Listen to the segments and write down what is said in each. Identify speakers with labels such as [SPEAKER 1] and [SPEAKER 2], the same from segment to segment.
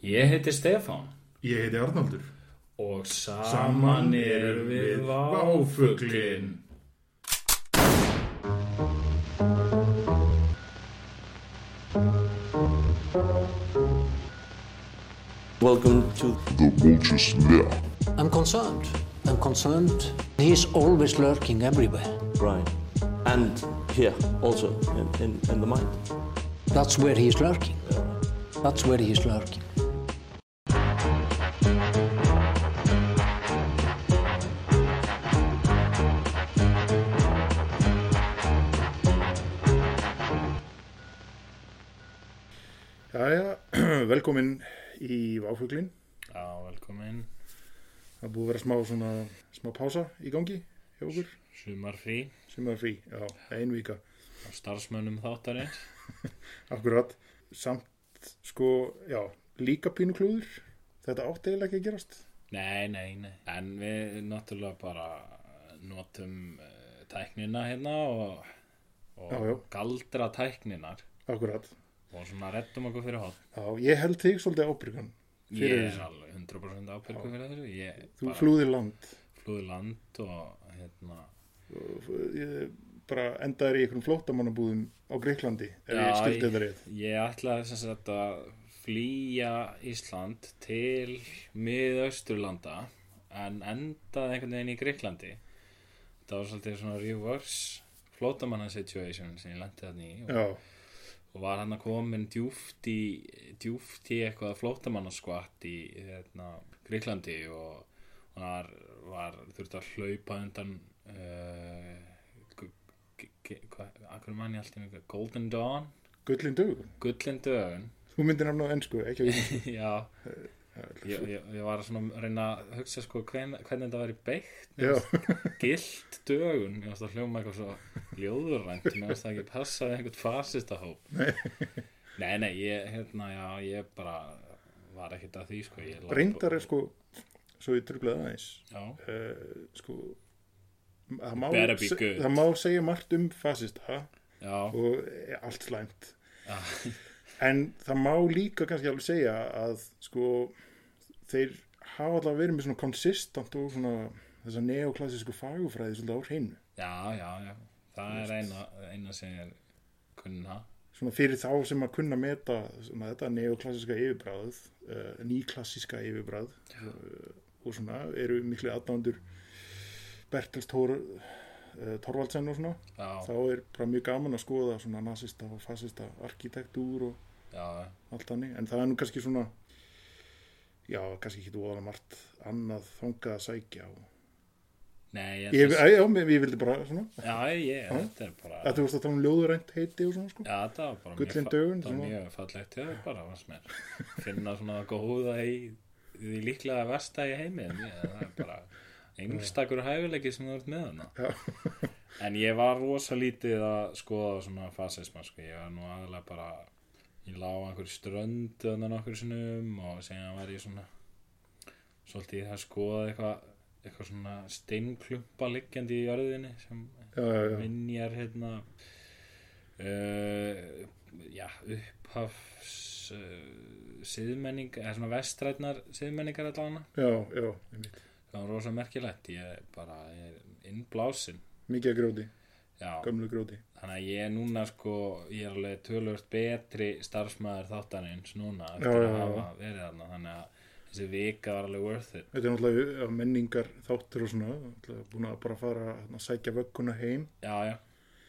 [SPEAKER 1] Ég heiti Stefán
[SPEAKER 2] Ég heiti Arnaldur.
[SPEAKER 1] og saman erum við váfuglin.
[SPEAKER 3] Welcome to.
[SPEAKER 4] I'm concerned. I'm concerned. He's always lurking everywhere.
[SPEAKER 3] Right. And here also in, in, in the mind.
[SPEAKER 4] That's where he's lurking. That's where he's lurking.
[SPEAKER 2] Jæja, velkomin í Váfuglin.
[SPEAKER 1] Já, velkomin,
[SPEAKER 2] Það er búið að vera smá svona, smá pása í gangi hjá okkur,
[SPEAKER 1] sumarfrí
[SPEAKER 2] sem er frí, já, ein vika,
[SPEAKER 1] á starfsmönnum þáttarins.
[SPEAKER 2] akkurat. Samt, sko, já, líka pínu klúður, þetta átti eiginlega ekki að gerast.
[SPEAKER 1] Nei, nei, nei. En við náttúrulega bara notum uh, tæknina hérna og, og
[SPEAKER 2] Já, já.
[SPEAKER 1] galdra tækninar
[SPEAKER 2] Akkurat.
[SPEAKER 1] og svona rettum okkur fyrir hótt.
[SPEAKER 2] Já, ég held þig svolítið ábyrgan.
[SPEAKER 1] Ég
[SPEAKER 2] Fyrir
[SPEAKER 1] er
[SPEAKER 2] þessu.
[SPEAKER 1] alveg 100% ábyrgur fyrir þessu. Ég
[SPEAKER 2] Þú
[SPEAKER 1] bara
[SPEAKER 2] flúðir land,
[SPEAKER 1] flúði land og hérna...
[SPEAKER 2] Ég bara endaðir í einhverjum flóttamannabúðum á Greiklandi, ef ég skildi þetta rétt.
[SPEAKER 1] Ég ætlaði sem sagt að flýja Ísland til miðausturlanda en endaði einhvern veginn í Greiklandi það var svolítið svona reverse flótamanna situation sem ég lendi þarna í og,
[SPEAKER 2] Já,
[SPEAKER 1] og var hann að komin djúft í djúft í eitthvað flótamanna skvatt í hérna, Greiklandi og og hann var, var þurfti að hlaupa undan uh, g- g- g- hvað, akkur mann ég alltaf Golden Dawn
[SPEAKER 2] gullin dögun.
[SPEAKER 1] Gullin dögun
[SPEAKER 2] Þú myndir nefna á ennsku, ekki á íslensku.
[SPEAKER 1] Já ég, ég, ég var svona að reyna að hugsa sko hven, hvernig þetta væri beitt
[SPEAKER 2] Já,
[SPEAKER 1] gilt dögun, ég varst að hljóma eitthvað svo ljóðurrænt, mér varst það ekki passa við einhvern fasista hóp nei. nei, ég, hérna, já, ég bara var ekkert að því sko ég lá-
[SPEAKER 2] reyndar er sko, svo ég trublaði aðeins.
[SPEAKER 1] Já,
[SPEAKER 2] uh, sko það má,
[SPEAKER 1] better be
[SPEAKER 2] se-
[SPEAKER 1] good.
[SPEAKER 2] það má segja margt um fasista
[SPEAKER 1] já,
[SPEAKER 2] og eh, allt slæmt
[SPEAKER 1] Ah.
[SPEAKER 2] en það má líka kannski alveg segja að sko þeir hafa alltaf verið með svona konsistant og svona þessa neoklassísku fagufræði svolítið á hreinu
[SPEAKER 1] já, já, já það er eina, eina sem ég er kunna
[SPEAKER 2] svona fyrir þá sem að kunna meta svona þetta neoklassíska yfirbræð uh, nýklassíska yfirbræð uh, og svona eru miklu aðdándur Bertels Tor, uh, Torvaldsen og svona þá
[SPEAKER 1] já,
[SPEAKER 2] er bara mjög gaman að skoða svona nazista og fasista arkitektúr og
[SPEAKER 1] já,
[SPEAKER 2] allt hannig en það er nú kannski svona já, kannski ekki þú aðra margt annað þangað að sækja og...
[SPEAKER 1] nei ég,
[SPEAKER 2] ég, að, já, mér, ég vildi bara svona
[SPEAKER 1] já, ég, þetta er bara
[SPEAKER 2] að þú vorst að tala um ljóðurænt heiti og svona sko.
[SPEAKER 1] Já, það var bara
[SPEAKER 2] Gullin
[SPEAKER 1] mjög,
[SPEAKER 2] dögun,
[SPEAKER 1] það var
[SPEAKER 2] svona.
[SPEAKER 1] mjög fallegt já, bara, fannst mér. finna svona góða í því líklega versta í heiminn ég, það er bara einstakur hæfileiki sem þú ert með hana en ég var rosa lítið að skoða svona fasisma sko. ég var nú aðalega bara ég lá á einhverju strönd þannig nokkur sinnum og segja var ég svona svolítið í það að skoða eitthvað eitthvað svona steinklumpa liggjandi í jörðinni sem
[SPEAKER 2] já, já, já,
[SPEAKER 1] minjar hérna uh, já, upphafs uh, siðmenning, eða svona vestrætnar siðmenningar allavega
[SPEAKER 2] já, já, einmitt.
[SPEAKER 1] það var rosa merkilegt ég bara er innblásin
[SPEAKER 2] mikið að gróti,
[SPEAKER 1] já,
[SPEAKER 2] gömlu gróti
[SPEAKER 1] þannig að ég er núna sko ég er alveg tölvöld betri starfsmæður þáttanins núna
[SPEAKER 2] Já,
[SPEAKER 1] eftir
[SPEAKER 2] já,
[SPEAKER 1] að
[SPEAKER 2] já.
[SPEAKER 1] hafa verið þarna þannig að þessi vika var alveg worth it
[SPEAKER 2] þetta er náttúrulega ja, menningar þáttur og svona náttúrulega búin að bara fara að hérna, sækja vögguna heim
[SPEAKER 1] Já, já.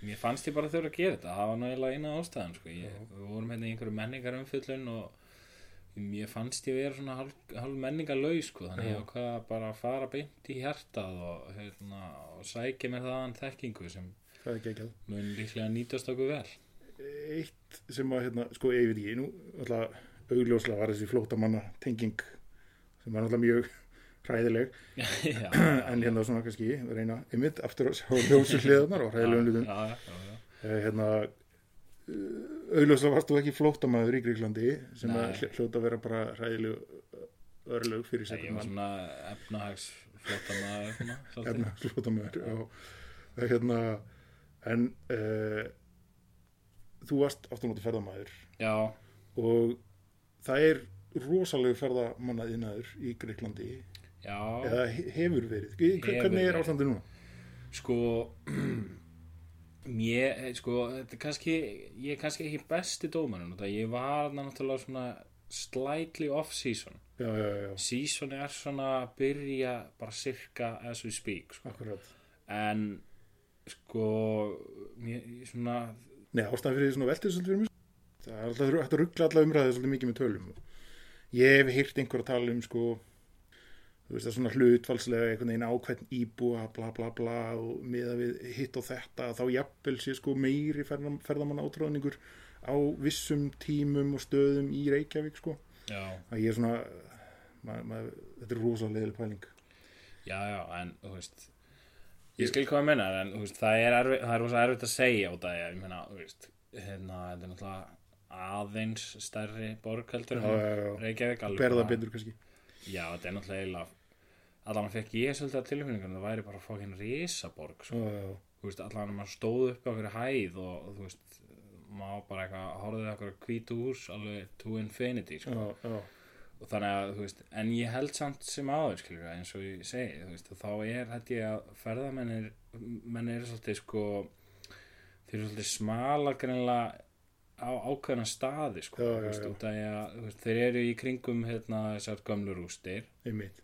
[SPEAKER 1] Mér fannst ég bara þurfa að gera þetta. Það var náttúrulega eina ástæðan, sko. Ég, við vorum hérna í einhverju menningarumfyllun og mér fannst ég vera svona hálf, hálf menningarlaug, sko. Þannig ég ákvað að bara fara beint í hjartað og, hérna, og sækja mér þaðan þekkingu sem
[SPEAKER 2] það er ekki ekki að
[SPEAKER 1] mun líklega nýtast okkur vel.
[SPEAKER 2] eitt sem að hérna, sko ég veit ekki, nú alltaf augljóslega var þessi flótamanna tenging sem var alltaf mjög hræðileg
[SPEAKER 1] já,
[SPEAKER 2] en hérna svona kannski reyna einmitt aftur að sjá ljósu hliðarnar og hræðilegum
[SPEAKER 1] já,
[SPEAKER 2] hlutum
[SPEAKER 1] já, já, já.
[SPEAKER 2] Eh, hérna eh, augljóslega varst þú ekki flótamaður í Gríklandi sem
[SPEAKER 1] Nei.
[SPEAKER 2] að hl- hljóta að vera bara hræðilegu örlög fyrir
[SPEAKER 1] Ég
[SPEAKER 2] sækum
[SPEAKER 1] var
[SPEAKER 2] mann
[SPEAKER 1] svona efnahagsflotta maður, svona, svolítið.
[SPEAKER 2] efnahagsflótamaður og Hérna, það er hérna en uh, þú varst aftur náttúrulega ferðamaður
[SPEAKER 1] Já,
[SPEAKER 2] og það er rosalegu ferðamanna innaður í Greiklandi
[SPEAKER 1] já,
[SPEAKER 2] eða he- hefur verið Hve-
[SPEAKER 1] Hefur
[SPEAKER 2] hvernig er
[SPEAKER 1] verið.
[SPEAKER 2] ástandið núna?
[SPEAKER 1] sko mér, eh, sko þetta er kannski, ég er kannski ekki besti dómarinn og það ég var þarna náttúrulega svona slightly off season
[SPEAKER 2] Já, já, já, já,
[SPEAKER 1] season er svona að byrja bara cirka as we speak sko.
[SPEAKER 2] akkurat
[SPEAKER 1] en sko mér, svona,
[SPEAKER 2] Nei, ástæðan fyrir því svona veltið svolítið fyrir mér það er alltaf hægt að ruggla alla umræðið svolítið mikið með tölum ég hef heyrt einhver að tala um sko þú veist það svona hlutfalslega einhvern veginn ákveðn íbúa bla bla bla og miða við hitt og þetta þá jafnvel sé sko meiri ferðam, ferðamanna átráðningur á vissum tímum og stöðum í Reykjavík sko
[SPEAKER 1] já
[SPEAKER 2] að ég er svona mað, mað, þetta er rosalega pæling
[SPEAKER 1] Já, já, en þú veist Ég skil hvað að menna, en þú veist, það er, erfi, það er rosa erfitt að segja út að ég, ég meina, þú veist, hérna, þetta er náttúrulega aðeins stærri borg heldur en
[SPEAKER 2] Já, já, já.
[SPEAKER 1] Reykjavík alveg.
[SPEAKER 2] berða
[SPEAKER 1] bara-
[SPEAKER 2] betur kannski
[SPEAKER 1] Já, þetta er náttúrulega eiginlega, allan fekk ég svolítið að tilfinningunum, það væri bara að fá hérna risaborg, sko,
[SPEAKER 2] já, já, já.
[SPEAKER 1] þú veist, allan að maður stóð upp á hverju hæð og, þú veist, maður bara eitthvað, horfðið eitthvað hvítu hús, alveg to infinity, sko
[SPEAKER 2] Já, já.
[SPEAKER 1] og þannig að, þú veist, en ég held samt sem áður, skilur, eins og ég segi, þú veist, og þá er, held ég að ferðamennir, menn eru svolítið, sko, þeir eru svolítið smala greinlega á ákveðna staði, sko,
[SPEAKER 2] Já, já,
[SPEAKER 1] þú veist,
[SPEAKER 2] já.
[SPEAKER 1] út af því að, þú veist, þeir eru í kringum, hérna, þessar gömlu rústir
[SPEAKER 2] einmitt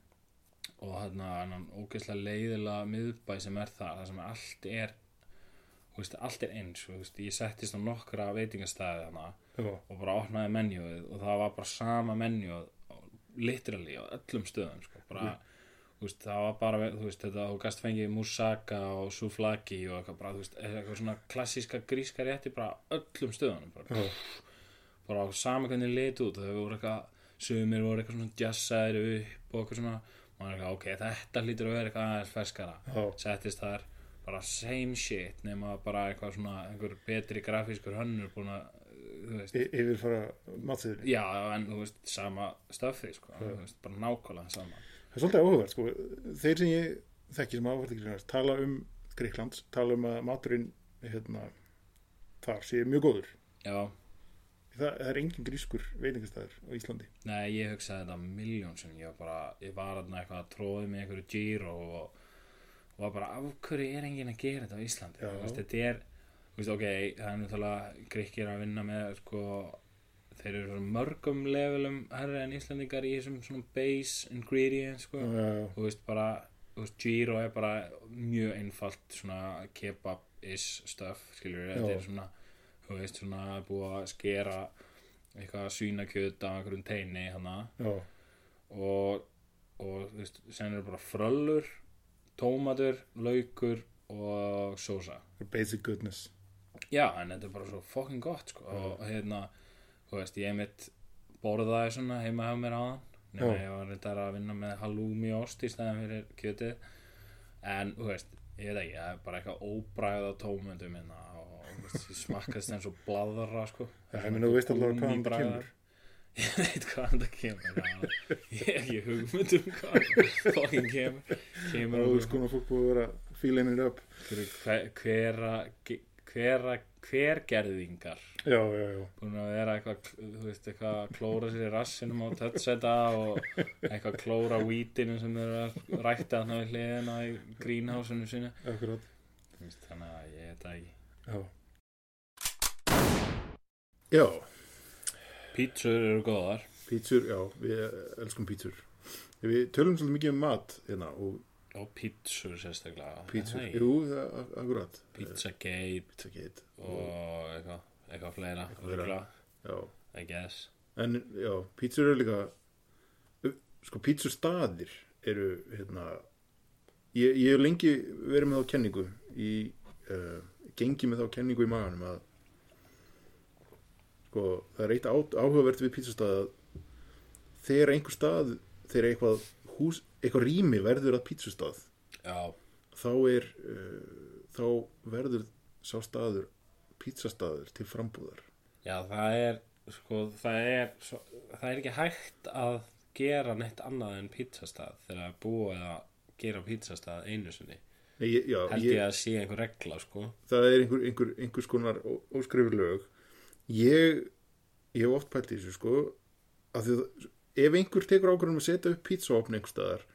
[SPEAKER 1] og, hérna, annan ógeðslega leiðilega miðbæ sem er það, það sem allt er, þú veist, allt er eins, þú veist, ég settist á nokkra veitingastæði þarna,
[SPEAKER 2] já,
[SPEAKER 1] og bara opnaði menjuð og það var bara sama menjuð literally á öllum stöðum sko. bara, þú veist, það var bara þú veist, þetta, þú gast fengið moussaka og souflaki og eitthvað, bara, þú veist, eitthvað svona klassíska gríska rétti bara á öllum stöðunum bara,
[SPEAKER 2] já,
[SPEAKER 1] bara á sama hvernig lit út þau voru eitthvað, sumir voru eitthvað svona jazzaðir upp og eitthvað svona maður er eitthvað, ok, þetta hlýtur að vera eitthvað aðeins ferskara
[SPEAKER 2] Já.
[SPEAKER 1] settist þar bara same shit nema bara eitthvað svona, einhver betri grafískur hönnur búin að, þú veist
[SPEAKER 2] Y- yfirfara matsiðinni
[SPEAKER 1] Já, en þú veist, sama stöfið, sko, þú veist, bara nákvæmlega sama.
[SPEAKER 2] Það er svolítið áhugavert sko. Þeir sem ég þekki sem hafa farið til Gríklands tala um Gríkland, tala um að maturinn hérna, þar sé mjög góður.
[SPEAKER 1] Já,
[SPEAKER 2] Það, það er engin grískur veitingastæður á Íslandi.
[SPEAKER 1] nei, ég hugsaði þetta miljón sem ég var bara, ég var þarna eitthvað að tróði með einhverju dýr og, og, og var bara, af hverju er enginn að gera þetta á Íslandi?
[SPEAKER 2] Já.
[SPEAKER 1] Þú veist, þetta er, þú veist, ok, það er náttúrulega grikkir að vinna með, sko, þeir eru svona mörgum levelum herri en Íslandingar í þessum svona base ingredients, sko.
[SPEAKER 2] Uh,
[SPEAKER 1] þú veist bara þú veist, gyro er bara mjög einfalt svona kebab-ish stuff skilur við, þetta
[SPEAKER 2] Já.
[SPEAKER 1] er svona þú veist svona búið að skera eitthvað svínakjöt af einhverjum teini hana
[SPEAKER 2] já,
[SPEAKER 1] og, og þú veist, sen eru bara fröllur tómatur, laukur og sósa
[SPEAKER 2] basic goodness.
[SPEAKER 1] já, en þetta er bara svo fucking gott sko.
[SPEAKER 2] Mm.
[SPEAKER 1] og hérna, þú veist, ég mitt borðaði svona heima hjá mér áðan nema
[SPEAKER 2] Já.
[SPEAKER 1] ég var reyndar að vinna með halloumi ost í stæðan fyrir kjötið en, þú veist, ég veit ekki það er bara eitthvað óbræða tómöndum minna og þú veist, ég smakkast eins og bladra sko
[SPEAKER 2] Já, ég meina, þú veist allavega hvaðan þetta
[SPEAKER 1] Gúmmíbragðar.
[SPEAKER 2] kemur.
[SPEAKER 1] ég veit hvaðan það kemur já. ég hef ekki hugmynd um hvað fucking kemur kemur úr
[SPEAKER 2] Og þú sko, fólk búið að vera fíleinir upp.
[SPEAKER 1] einhverju hver, hvera, hvera, hvergerðingar
[SPEAKER 2] Já, já, já.
[SPEAKER 1] búin að vera eitthvað, þú veist, eitthvað að klóra sér í rassinum á tötseta og eitthvað að klóra vítinu sem þeir eru að rækta þarna við hliðina í greenhouse-inu sínu.
[SPEAKER 2] Akkurat.
[SPEAKER 1] Þú veist, Þannig að ég veit það ekki.
[SPEAKER 2] Já. Já,
[SPEAKER 1] Pítsur eru góðar.
[SPEAKER 2] pítsur, já, við elskum pítsur. Við tölum svolítið mikið um mat hérna og
[SPEAKER 1] Og pítsur sérstaklega.
[SPEAKER 2] pítsur.
[SPEAKER 1] Nei,
[SPEAKER 2] Jú, það, akkurat.
[SPEAKER 1] Pizzagate
[SPEAKER 2] Pizza Gate.
[SPEAKER 1] og eitthvað, eitthvað fleira.
[SPEAKER 2] Eitthvað fleira.
[SPEAKER 1] Eitthvað,
[SPEAKER 2] Já.
[SPEAKER 1] I guess.
[SPEAKER 2] En já, pítsur eru líka sko pítsustaðir eru hérna ég, ég hef lengi verið með þá kenningu í uh, gengi með þá kenningu í maganum að sko það er eitt á, áhugavert við pítsustaði að þegar einhver stað þegar eitthvað hús, eitthvað rými verður að pítsustað
[SPEAKER 1] Já,
[SPEAKER 2] þá er uh, þá verður sá staður pítsastaður til frambúðar
[SPEAKER 1] já það er, sko, það er, svo, það er ekki hægt að gera neitt annað en pizzastað þegar að búa eða gera pizzastað einu sinni.
[SPEAKER 2] Nei, ég, já,
[SPEAKER 1] held ég að sé einhver regla sko
[SPEAKER 2] það er einhver, einhver, einhvers konar ó- óskrifur lög ég, ég hef oft pælt í þessu sko að því að ef einhver tekur ákvörðum að setja upp pítsaopn einhver staðar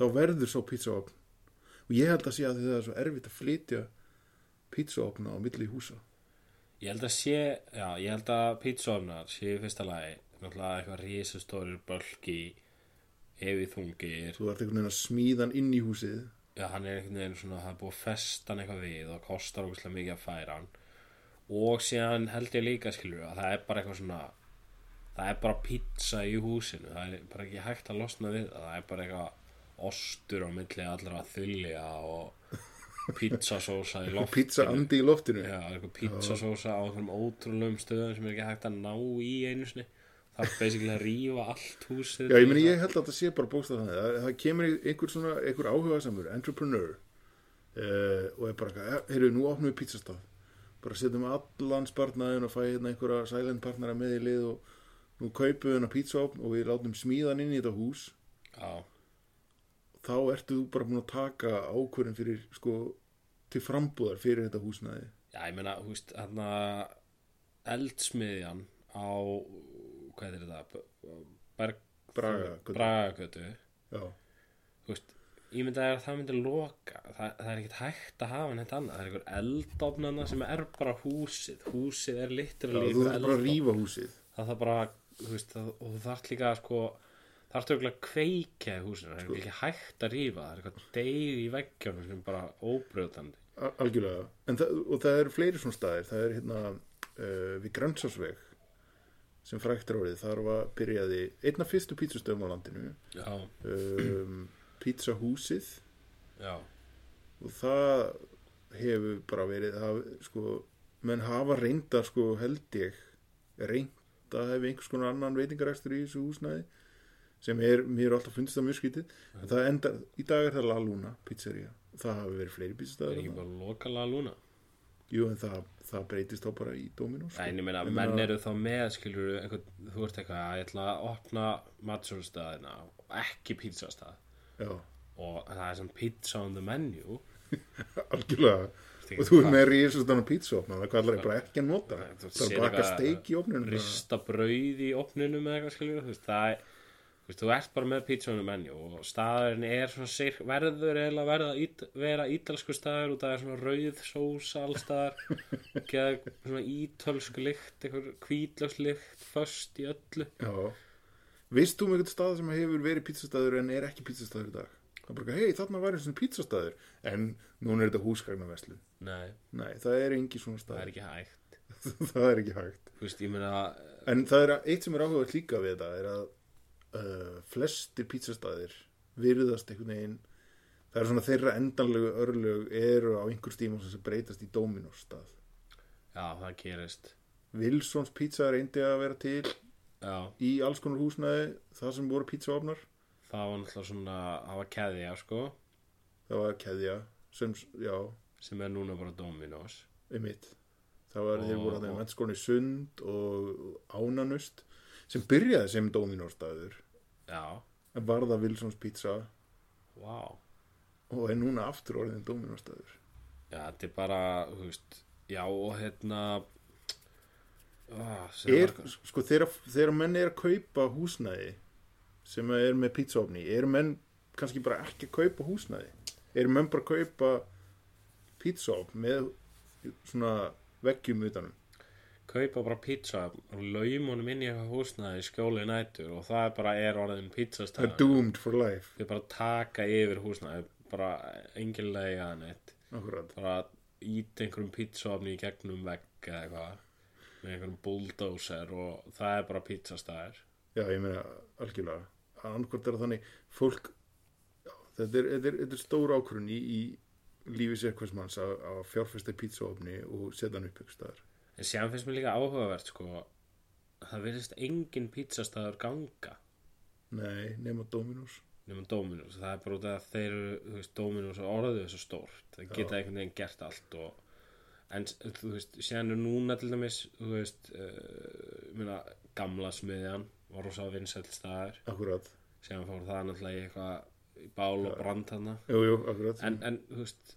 [SPEAKER 2] þá verður svo pítsaopn og ég held að sé að það er svo erfitt að flytja pítsaopna á milli húsa
[SPEAKER 1] Ég held að sé, já, ég held að pítsuofnar sé í fyrsta lagi náttúrulega eitthvað risastórir bölki hefið þungir
[SPEAKER 2] þú ert einhvern veginn að smíðan inn í húsið
[SPEAKER 1] já, hann er einhvern veginn svona, það er búið að festa hann eitthvað við og kostar ógustlega mikið að færa hann og síðan held ég líka skilur að það er bara eitthvað svona það er bara pizza í húsinu það er bara ekki hægt að losna við það það er bara eitthvað ostur á milli allra þulja og pizzasósa í loftinu
[SPEAKER 2] pítsa andi í loftinu
[SPEAKER 1] Já, eitthvað pizzasósa á einhverjum ótrúlegum stöðum sem er ekki hægt að ná í einu sinni Það er basically að rífa allt húsið
[SPEAKER 2] Já, ég meni, ég held að þetta sé bara bókstað þannig að það kemur í einhver svona, einhver áhugasamur, entrepreneur uh, og er bara, eitthvað, "Eh, heyrðu, nú opnum við pizzastaf bara setjum allan spartnaðin og fæ hérna einhverja silent partnera með í lið og nú kaupum við hérna pizzaopn og við látum smíðan inn í þetta hús
[SPEAKER 1] Já,
[SPEAKER 2] þá ertu þú bara búin að taka ákvörðin fyrir, sko, til frambúðar fyrir þetta húsnaði
[SPEAKER 1] já ég meina, þú veist, hérna eldsmiðjan á, hvað er þetta, Berg...
[SPEAKER 2] Bragagötu.
[SPEAKER 1] Bragagötu
[SPEAKER 2] Já,
[SPEAKER 1] Þú veist, ég myndi að það myndi loka Það, það er ekkert hægt að hafa neitt annað Það er einhver eldofnana sem er bara húsið Húsið er
[SPEAKER 2] Já
[SPEAKER 1] literally einhver
[SPEAKER 2] þú þarf bara að
[SPEAKER 1] eldofn.
[SPEAKER 2] rífa húsið
[SPEAKER 1] það þarf bara þú veist, það, og þú þarf líka sko það þarf örugglega að kveikja í húsinu það er ekki hægt að rífa það er eitthvað deyð í veggjónum sem er bara óbrjóðandi
[SPEAKER 2] Al- Algjörlega, en það, og það eru fleiri svona staðir, það er hérna uh, við Grönnsásveg sem frækt er orðið, þar var byrjaði einna fyrstu pítsustöðum á landinu
[SPEAKER 1] já,
[SPEAKER 2] um, pítsahúsið
[SPEAKER 1] já,
[SPEAKER 2] og það hefur bara verið það, sko, menn hafa reynda sko held ég reynda hefur einhvers konar annan veitingarækstur í þessu húsnæði sem er, mér er alltaf fundist það mjög skrítið en það endar, í dag er það La Luna pizzeria, það hafi verið
[SPEAKER 1] það
[SPEAKER 2] fleiri
[SPEAKER 1] er
[SPEAKER 2] pítsustæður
[SPEAKER 1] ekki bara lokala lúna
[SPEAKER 2] Jú, en það, það breytist þá bara í Dominos. sko.
[SPEAKER 1] en ég meina, menn eru þá með skilur einhvern, þú ert eitthvað að ég ætla að opna matsölustæðina ekki pizzastæð
[SPEAKER 2] Já,
[SPEAKER 1] og það er sem pizza on the menu
[SPEAKER 2] algjörlega.
[SPEAKER 1] Stingur
[SPEAKER 2] Og þú er með risastan á pítsuopna, það kallar ég bara ekki að nota.
[SPEAKER 1] þú
[SPEAKER 2] Það er
[SPEAKER 1] sér
[SPEAKER 2] að baka
[SPEAKER 1] eitthvað-
[SPEAKER 2] steik í opninu.
[SPEAKER 1] rista brauð í opninum eða eitthvað skilur þú veist, það er þú veist, þú ert bara með pítsunum menju og staðurinn er svona sirk, verður eiginlega að verða ít, vera ítalsku staður og það er svona rauð sósa allstaðar geða svona ítölsku lykt eitthvað hvítlöfslykt föst í öllu
[SPEAKER 2] Já. Veist þú um einhvern stað sem hefur verið pítsustæður en er ekki pítsustæður í dag? Það er bara, hei, þarna var einhvern pítsustæður. En núna er þetta húsgagnaverslun.
[SPEAKER 1] nei,
[SPEAKER 2] Nei, það er engin svona
[SPEAKER 1] það er
[SPEAKER 2] staður.
[SPEAKER 1] ekki hægt
[SPEAKER 2] það er ekki hægt.
[SPEAKER 1] þú veist, ég meina
[SPEAKER 2] En það er að- eitt sem er áhugað líka við þetta er að uh, flestir pítsastæðir virðast einhvern veginn það er svona þeirra endanlegu örlög eru á einhver stíma sem breytast í Dominos stað.
[SPEAKER 1] já, það gerist
[SPEAKER 2] Wilsons pizza reyndi að vera til
[SPEAKER 1] já,
[SPEAKER 2] í alls konar húsnæði þar sem voru pizzaofnar
[SPEAKER 1] það var náttúrulega svona það var keðja, sko
[SPEAKER 2] það var keðja sem, já,
[SPEAKER 1] sem er núna bara Dominos
[SPEAKER 2] einmitt það var, þeir
[SPEAKER 1] Og-
[SPEAKER 2] voru þannig mennskóni sund og ánanust sem byrjaði sem Dominos staður
[SPEAKER 1] já,
[SPEAKER 2] en var það Wilsons pizza
[SPEAKER 1] vá wow.
[SPEAKER 2] og er núna aftur orðin Dominos staður
[SPEAKER 1] Já, þetta er bara, þú veist, já og hérna ah, sem
[SPEAKER 2] er,
[SPEAKER 1] var-
[SPEAKER 2] sko, þegar, þegar menn er að kaupa húsnæði sem er með pizzaofni er menn kannski bara ekki að kaupa húsnæði er menn bara að kaupa pizzaofn með svona veggjum um? utanum
[SPEAKER 1] kaupa bara pizza og laum honum inn í eitthvað húsnaði í skjóli nætur og það er bara er orðin
[SPEAKER 2] það er
[SPEAKER 1] pizzastæðan
[SPEAKER 2] doomed for life
[SPEAKER 1] Þau bara taka yfir húsnaði bara engilega eða neitt
[SPEAKER 2] akkurat.
[SPEAKER 1] bara ít einhverjum pizzaofni í gegnum vegg eða eitthvað með einhverjum bulldozer og það er bara pizzastæðar
[SPEAKER 2] já ég meina algjörlega annarkvort er það þannig fólk já, þetta er, þetta er, þetta er stór ákvörun í, í lífi sér hvers manns að, að fjárfesta í pizzaofni og setja hann upp ykkur staðar
[SPEAKER 1] En séðan finnst mér líka áhugavert sko það virðist engin pizzastæðar ganga
[SPEAKER 2] nei, nema Dominos
[SPEAKER 1] nema Dominus það er bara út af að þeir eru, þú veist, Dominus og orðið þessu stórt það geta einhvern veginn gert allt og en þú veist, séðan er núna til dæmis þú veist uh, minna, gamla smiðjan var rosa vinsæll staðar
[SPEAKER 2] akkurat,
[SPEAKER 1] séðan fór það náttúrulega í eitthvað í bál og brand hana
[SPEAKER 2] jú, jú, akkurat
[SPEAKER 1] en, en þú veist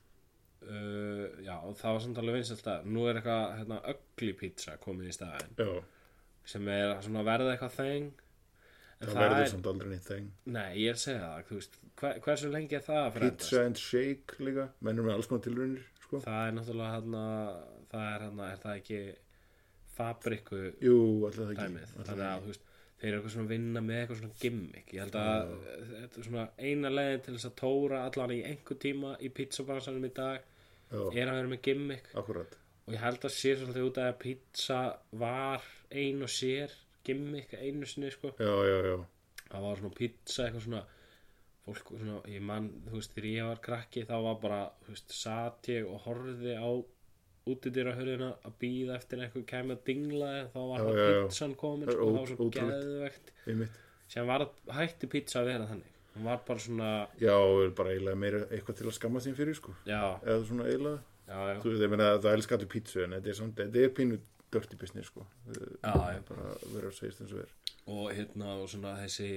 [SPEAKER 1] uh, já, það var samt alveg vinsæll staðar nú er eitthvað, hérna, ögli pizza komið í staðin
[SPEAKER 2] já
[SPEAKER 1] sem er svona að verða eitthvað þeng En
[SPEAKER 2] það
[SPEAKER 1] það
[SPEAKER 2] verður
[SPEAKER 1] er-
[SPEAKER 2] samt aldrei nýtt þeng
[SPEAKER 1] Nei, ég er að segja það, þú veist, hver, hversu lengi er það að
[SPEAKER 2] pizza
[SPEAKER 1] frendast?
[SPEAKER 2] and shake líka mennur með alls konar tilrunir sko.
[SPEAKER 1] Það er náttúrulega hann það er hann er það ekki fabriku
[SPEAKER 2] jú, alltaf það ekki
[SPEAKER 1] dæmið,
[SPEAKER 2] ætli
[SPEAKER 1] þannig
[SPEAKER 2] það
[SPEAKER 1] að
[SPEAKER 2] ekki.
[SPEAKER 1] þú veist, þeir eru eitthvað svona að vinna með eitthvað svona gimmick, ég held að þetta er svona eina leiðin til þess að tóra allan í einhver tíma í pizzabransanum í dag
[SPEAKER 2] já,
[SPEAKER 1] er að vera með gimmick
[SPEAKER 2] akkurat
[SPEAKER 1] og ég held að sé svolítið út af að pizza var ein og sér gimmick einu sinni sko
[SPEAKER 2] já, já, já,
[SPEAKER 1] það var svona pizza eitthvað svona fólk svona, ég mann, þú veist, þegar ég var krakki þá var bara, þú veist, sat ég og horfði á útidýra hörðina að býða eftir að einhver kæmi að dingla þér, þá var
[SPEAKER 2] Já,
[SPEAKER 1] það
[SPEAKER 2] já, já.
[SPEAKER 1] pizzan komin
[SPEAKER 2] Það er
[SPEAKER 1] sko, það var
[SPEAKER 2] ó-
[SPEAKER 1] svo
[SPEAKER 2] ótrúlegt.
[SPEAKER 1] geðvegt
[SPEAKER 2] einmitt
[SPEAKER 1] sem var, hætti pizza að vera þannig hún var bara svona,
[SPEAKER 2] já, er bara eiginlega meira eitthvað til að skamma þín fyrir sko.
[SPEAKER 1] já,
[SPEAKER 2] eða svona eiginlega
[SPEAKER 1] já, já
[SPEAKER 2] þú veist, ég meina það elskar allir pizza en þetta er, samt, þetta er pínu dirty business sko.
[SPEAKER 1] Já, já.
[SPEAKER 2] bara verður að segja þess að vera
[SPEAKER 1] og hérna og svona þessi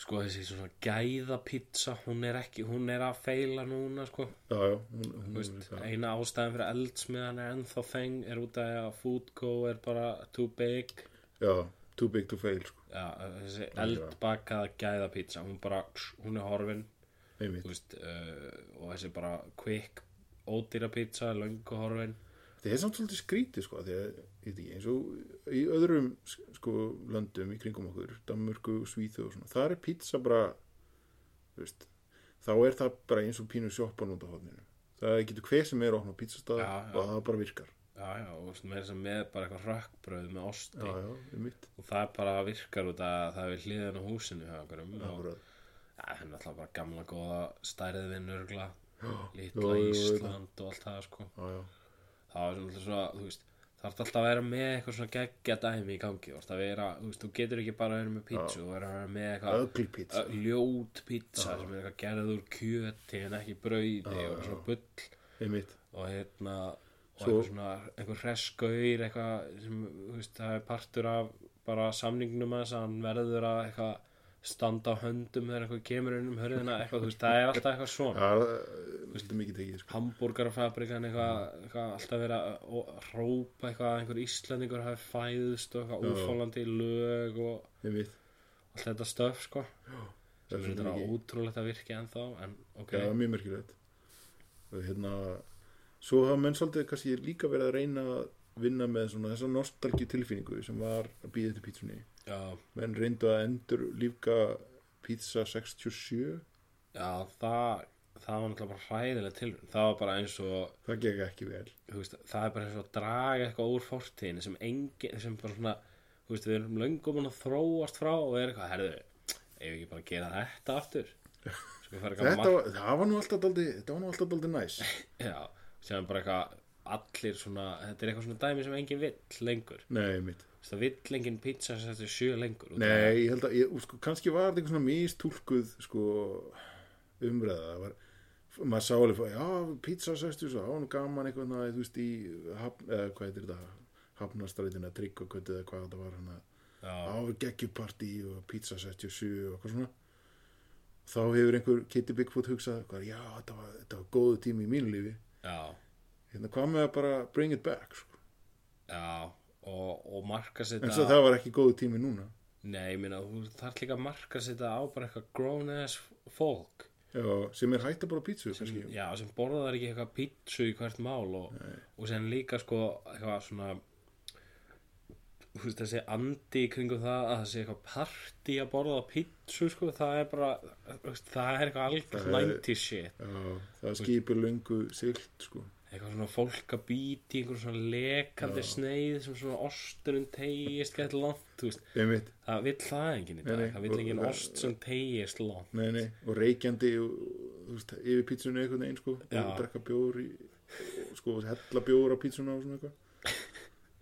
[SPEAKER 1] sko þessi svona gæða pizza hún er ekki, hún er að feila núna sko,
[SPEAKER 2] já, já, hún, hún
[SPEAKER 1] Þú veist, eina ástæðan fyrir eldsmiðan er ennþá þeng er út af að foodco er bara too big
[SPEAKER 2] já, too big to fail sko.
[SPEAKER 1] já, þessi eldbakaða gæða pizza hún bara, hún er horfin þú
[SPEAKER 2] einmitt,
[SPEAKER 1] veist, uh, og þessi bara quick ódýra pizza, er löngu horfin
[SPEAKER 2] þetta er samt svolítið skrítið sko, af því að, ég veit ekki, eins og í öðrum sko, löndum í kringum okkur Danmörku, Svíþu og svona það er pizza bara þú veist, þá er það bara eins og pínu sjoppan út á hodninu það getur hver sem er að opna pizzastað
[SPEAKER 1] Já, já.
[SPEAKER 2] og það bara virkar
[SPEAKER 1] já, já, og þú veist, með þess að með bara eitthvað rökkbröð með osti
[SPEAKER 2] já, já, einmitt,
[SPEAKER 1] og það er bara virkar út af að það er hliðin á húsinu hjá okkurum og
[SPEAKER 2] akkurat
[SPEAKER 1] ja, það er náttúrulega bara gamla góða stærðin örgla
[SPEAKER 2] jú,
[SPEAKER 1] litla
[SPEAKER 2] jú, jú.
[SPEAKER 1] Ísland og allt það sko
[SPEAKER 2] já, já,
[SPEAKER 1] það er náttúrulega svona, þú veist það er alltaf að vera með eitthvað svona geggja dæmi í gangi þú veist, að vera, þú veist, þú getur ekki bara að vera með pizza og vera með eitthvað
[SPEAKER 2] ugly pizza
[SPEAKER 1] ö- ljót pizza sem er eitthvað gerð úr kjöti en ekki brauði og svona bull
[SPEAKER 2] einmitt,
[SPEAKER 1] og hérna og
[SPEAKER 2] Svo-
[SPEAKER 1] eitthvað svona, eitthvað hresskaur eitthvað sem, þú veist, það er partur af bara samningnum að þess að hann verður að eitthvað standa á höndum þegar eitthvað kemur inn um hörðina eitthvað, þú veist, það er alltaf eitthvað svona
[SPEAKER 2] það er svolítið mikið tekið sko.
[SPEAKER 1] hambúrgarafabrikan eitthvað, eitthvað alltaf verið að ó- hrópa eitthvað að einhver Íslandingur hafi fæðst og eitthvað ófólandi lög og
[SPEAKER 2] einmitt
[SPEAKER 1] allt þetta stöf sko
[SPEAKER 2] það
[SPEAKER 1] sem
[SPEAKER 2] er
[SPEAKER 1] er
[SPEAKER 2] svolítið
[SPEAKER 1] þetta
[SPEAKER 2] mikið
[SPEAKER 1] ótrúlegt að virka ennþá en ok,
[SPEAKER 2] Já, mjög merkilegt og hérna svo hafa menn svolítið kannski líka verið að reyna að vinna með svona þessa nostalgi tilfinningu sem var að býða eftir pítsunni
[SPEAKER 1] já,
[SPEAKER 2] menn reyndu að endur lífka pítsa 67
[SPEAKER 1] já það það var náttúrulega bara hræðilega tilhörn það var bara eins og
[SPEAKER 2] það gekk ekki vel
[SPEAKER 1] þú veist, það er bara eins og að draga eitthvað úr fortíðinu sem engin, sem bara svona þú veist, við erum löngum að þróast frá og er eitthvað, herðu, ef við ekki bara að gera þetta aftur Skal við fara eitthvað
[SPEAKER 2] þetta var, það var nú alltaf daldi þetta var nú alltaf daldi næs
[SPEAKER 1] Já, sem bara eitthvað allir svona, þetta er eitthvað svona dæmi sem enginn vill lengur,
[SPEAKER 2] nei mitt
[SPEAKER 1] Þú veist, það vill enginn pizza sem þetta er sjö lengur Út af-
[SPEAKER 2] nei ég held að ég, sko, kannski var þetta einhver svona mistúlkuð sko umræða það var maður sá alveg já pizza 67 það var nú gaman eitthvað na, þú veist í hafn, eða, hvað heitir þetta hafnastrætina tryggvakötu eða hvað þetta var hana
[SPEAKER 1] Já,
[SPEAKER 2] áfyrir geggjupartí og pizza 67 og eitthvað svona þá hefur einhver Kitty Bigfoot hugsað hvað, já þetta var, þetta var góðu tími í mínu lífi
[SPEAKER 1] já,
[SPEAKER 2] hérna hvað með að bara bring it back sko.
[SPEAKER 1] já og, og marka sér
[SPEAKER 2] en svo það var ekki góðu tími núna
[SPEAKER 1] Nei, ég meina, þú þarf líka að marka sér á bara eitthvað grown ass fólk
[SPEAKER 2] já, sem er hægt að bara pizza kannski
[SPEAKER 1] Já, sem borðar ekki eitthvað pítsu í hvert mál og, og sem líka sko eitthvað svona þú veist, þessi andi í kringum það að það sé eitthvað partí að borða pítsu sko, það er bara þú veist, það er eitthvað algjörn
[SPEAKER 2] Það er-
[SPEAKER 1] 90 shit
[SPEAKER 2] já, það skipur löngu silt sko.
[SPEAKER 1] eitthvað svona fólk að býti einhver svona lekandi sneið sem svona osturinn tegist gett langt þú veist,
[SPEAKER 2] einmitt,
[SPEAKER 1] það vill það enginn í dag
[SPEAKER 2] Nei, nei,
[SPEAKER 1] það vill
[SPEAKER 2] og-
[SPEAKER 1] enginn
[SPEAKER 2] og-
[SPEAKER 1] ost sem tegist langt
[SPEAKER 2] nei nei og reykjandi og, og, þú veist, yfir pítsunni einhvern veginn sko,
[SPEAKER 1] Já.
[SPEAKER 2] og drekka bjór í, sko, og hella bjór á pítsuna og svona eitthvað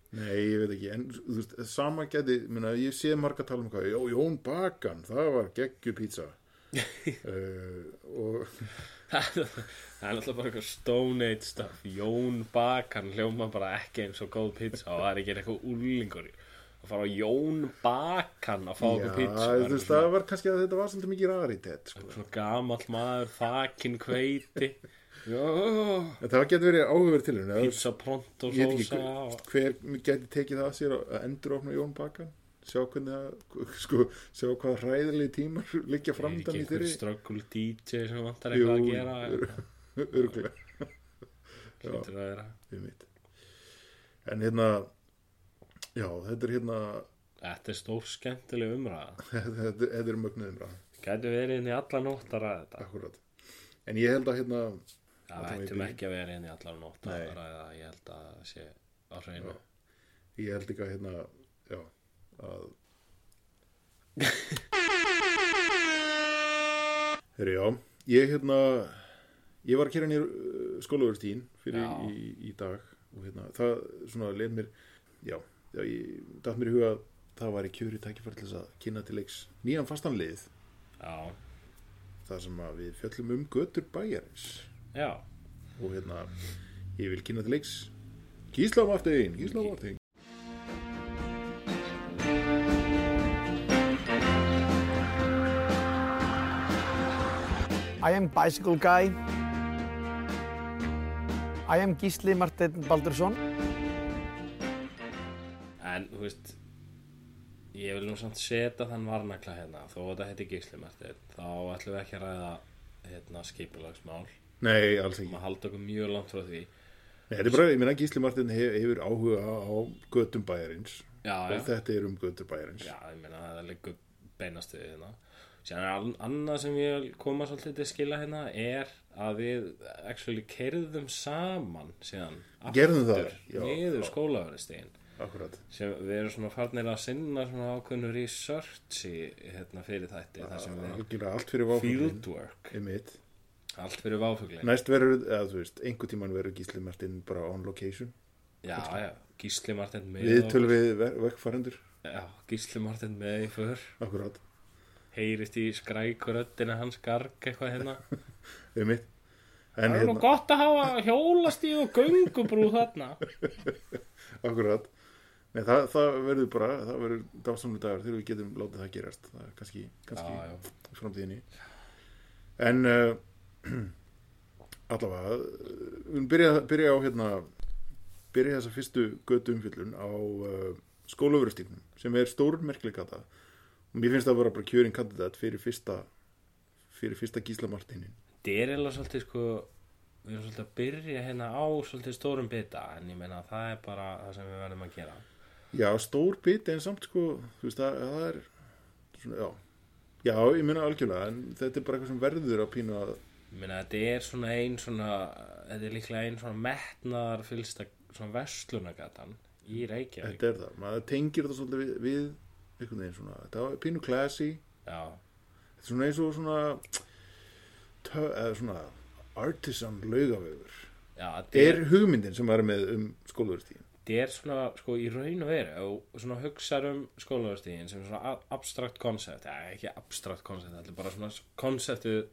[SPEAKER 2] nei, ég veit ekki en þú veist, sama geti, minna, ég sé marga tala um eitthvað, jó, Jón Bakan það var geggju pítsa uh, og
[SPEAKER 1] það er það er náttúrulega bara eitthvað stone age stuff Jón Bakan hljóma bara ekki eins og góð pizza og það er ekki eitthvað úrlingur í. að fara á Jón Bakan að fá
[SPEAKER 2] já,
[SPEAKER 1] okkur pizza það
[SPEAKER 2] þú
[SPEAKER 1] er
[SPEAKER 2] veist, það var kannski að þetta var svolítið mikið raritet sko.
[SPEAKER 1] svona gamall maður þakin hveiti já,
[SPEAKER 2] en það geti verið áhugur til henni
[SPEAKER 1] pizza pronto
[SPEAKER 2] ég veit ekki
[SPEAKER 1] sósa og-
[SPEAKER 2] hver, hver geti tekið það að sér að enduropna Jón Bakan sjá hvernig að, sko, sjá hvað ræðilegi tímar liggja framdann í
[SPEAKER 1] einhver
[SPEAKER 2] þeirri
[SPEAKER 1] ströggul DJ sem vantar
[SPEAKER 2] Jú,
[SPEAKER 1] eitthvað að gera
[SPEAKER 2] örgulega
[SPEAKER 1] hlutur að vera
[SPEAKER 2] við mitt en hérna já, þetta er hérna
[SPEAKER 1] þetta er stór skemmtileg umræða
[SPEAKER 2] þetta, þetta er mögnuðum ræð,
[SPEAKER 1] gætu verið inn í alla nótt að ræða þetta
[SPEAKER 2] akkurat en ég held að hérna
[SPEAKER 1] það
[SPEAKER 2] Þetta var í
[SPEAKER 1] ættum
[SPEAKER 2] byrjun.
[SPEAKER 1] ekki að vera inn í alla nótt að
[SPEAKER 2] Nei.
[SPEAKER 1] ræða það. ég held að það sé á hreinu
[SPEAKER 2] Já. ég held ekki að hérna já, að Herri, já, ég hérna ég var að kera nýr skólaugurtíðin fyrir
[SPEAKER 1] Já.
[SPEAKER 2] í, í dag og hérna, það svona leið mér já, já ég datt mér í huga að það var í kjöri tækifæri til þess að kynna til leiks nýjan fastanlið
[SPEAKER 1] já,
[SPEAKER 2] þar sem að við fjöllum um götur bæjarins
[SPEAKER 1] já,
[SPEAKER 2] og hérna, ég vil kynna til leiks Gísla Martin, Gísla Martin
[SPEAKER 5] I am bicycle guy. I am Gísli Marteinn Baldursson.
[SPEAKER 1] en þú veist ég vil nú samt setja þann varnakla hérna þó að þetta heiti gíslimertir þá ætlum við ekki að ræða hérna skipulagsmál
[SPEAKER 2] Nei, alls ekki
[SPEAKER 1] maður halda okkur mjög langt frá því
[SPEAKER 2] Nei, þetta er bara, ég meina Gísli Martin hef, hefur áhuga á á götum bæjarins
[SPEAKER 1] já,
[SPEAKER 2] og
[SPEAKER 1] já,
[SPEAKER 2] þetta er um götur bæjarins
[SPEAKER 1] já, ég meina það liggur beinast við hérna Sér er an- annað sem ég vil koma svolítið til skila hérna er að við actually kerðum saman síðan
[SPEAKER 2] Gerðum það,
[SPEAKER 1] aftur
[SPEAKER 2] já,
[SPEAKER 1] niður
[SPEAKER 2] já.
[SPEAKER 1] skólaverðistegin
[SPEAKER 2] akkurat
[SPEAKER 1] sem við erum svona farnir að sinna svona ákveðnu research í hérna fyrir þætti þar sem
[SPEAKER 2] Það
[SPEAKER 1] við
[SPEAKER 2] gera allt fyrir váfuglin
[SPEAKER 1] fieldwork
[SPEAKER 2] Einmitt.
[SPEAKER 1] allt fyrir váfuglin
[SPEAKER 2] Næst verður, eða þú veist, einhvern tímann verður Gísli Martin bara on location
[SPEAKER 1] já, já, Gísli Martin með
[SPEAKER 2] Við tölum við ver- vekkfarendur,
[SPEAKER 1] já, Gísli Martin með í för
[SPEAKER 2] akkurat
[SPEAKER 1] heyrist í skrækuröddina hans garg eitthvað hérna
[SPEAKER 2] Einmitt En
[SPEAKER 1] það er nú
[SPEAKER 2] hérna,
[SPEAKER 1] gott að hafa hjólastíð og göngubrú þarna
[SPEAKER 2] akkurat Nei, það, það verður bara, það verður dásamlega dagar þegar við getum látið það gerast það er kannski, kannski
[SPEAKER 1] Já, já.
[SPEAKER 2] í framtíðinni en uh, allavega uh, við viljum byrja, byrja á hérna byrja þessa fyrstu götu umfyllun á uh, skólaugurastíknum sem er stór merkilegata og mér finnst það bara, bara kjörin kandidat fyrir fyrsta fyrir fyrsta Gísla Martinin
[SPEAKER 1] þetta er eiginlega svolítið sko við erum svolítið að byrja hérna á svolítið stórum bita en ég meina það er bara það sem við verðum að gera
[SPEAKER 2] já, stór biti en samt sko þú veist, það, það er svona, já Já, ég meina algjörlega, en þetta er bara eitthvað sem verður að pína að
[SPEAKER 1] ég meina þetta er svona ein svona þetta er líklega ein svona metnaðar fylsta svona verslunagatan í Reykjavík
[SPEAKER 2] þetta er það, maður tengir þetta svolítið við, við einhvern veginn svona, þetta er pínu classy
[SPEAKER 1] já,
[SPEAKER 2] Þetta er svona eins og svona tö, eða svona artisan laugavegur
[SPEAKER 1] já þetta
[SPEAKER 2] er hugmyndin sem maður er með um skólaverðstíðin
[SPEAKER 1] þetta er svona sko í raun og veru og svona hugsaður um skólaverstíðin sem svona a- abstrakt konsept eða ekki abstrakt konsept, þetta er bara svona konseptið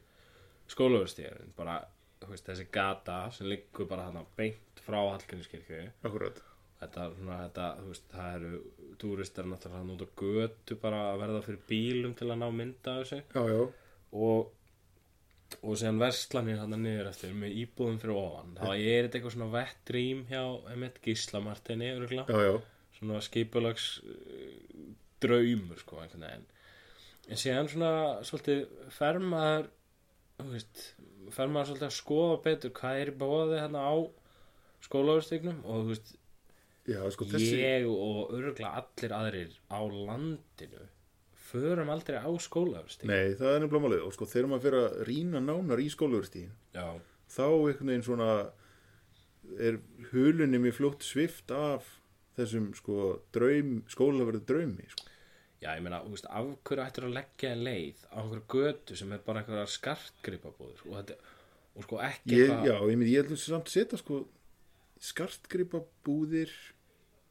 [SPEAKER 1] skólaverstíðin bara þú veist, þessi gata sem liggur bara þarna beint frá Hallgrímskirkju
[SPEAKER 2] akkurat,
[SPEAKER 1] þetta er svona þetta, þú veist, það eru túristar náttúrulega að nota götu bara að verða fyrir bílum til að ná mynda af þessu
[SPEAKER 2] já já
[SPEAKER 1] og og séðan verslanir hann niður eftir með íbúðum fyrir ofan þá er þetta eitthvað svona vett drým hjá einmitt Gísla Martini öruglega
[SPEAKER 2] já já,
[SPEAKER 1] svona skipulags eh, draumur sko einhvern veginn en síðan svona svolítið fer maður þú veist, fer maður svolítið að skoða betur hvað er í bóði hérna á skólaugurstegnum og þú veist
[SPEAKER 2] já sko þessi
[SPEAKER 1] ég og örgla allir aðrir á landinu förum aldrei á skólaugurstegnum
[SPEAKER 2] nei, það er nefnilega málið og sko þegar maður fyrir að rýna nánar í skólaverðstíðin
[SPEAKER 1] já,
[SPEAKER 2] þá einhvern veginn svona er hulunni mér fljótt svift af þessum sko draum, skólaverðu draumi sko.
[SPEAKER 1] já, ég meina, þú veist, af hverju ættir að leggja leið á einhverju götu sem er bara einhverjar skartgripabúður og þetta, og sko ekki
[SPEAKER 2] ég, já, ég myndi, ég ætlum samt að setja sko skartgripabúðir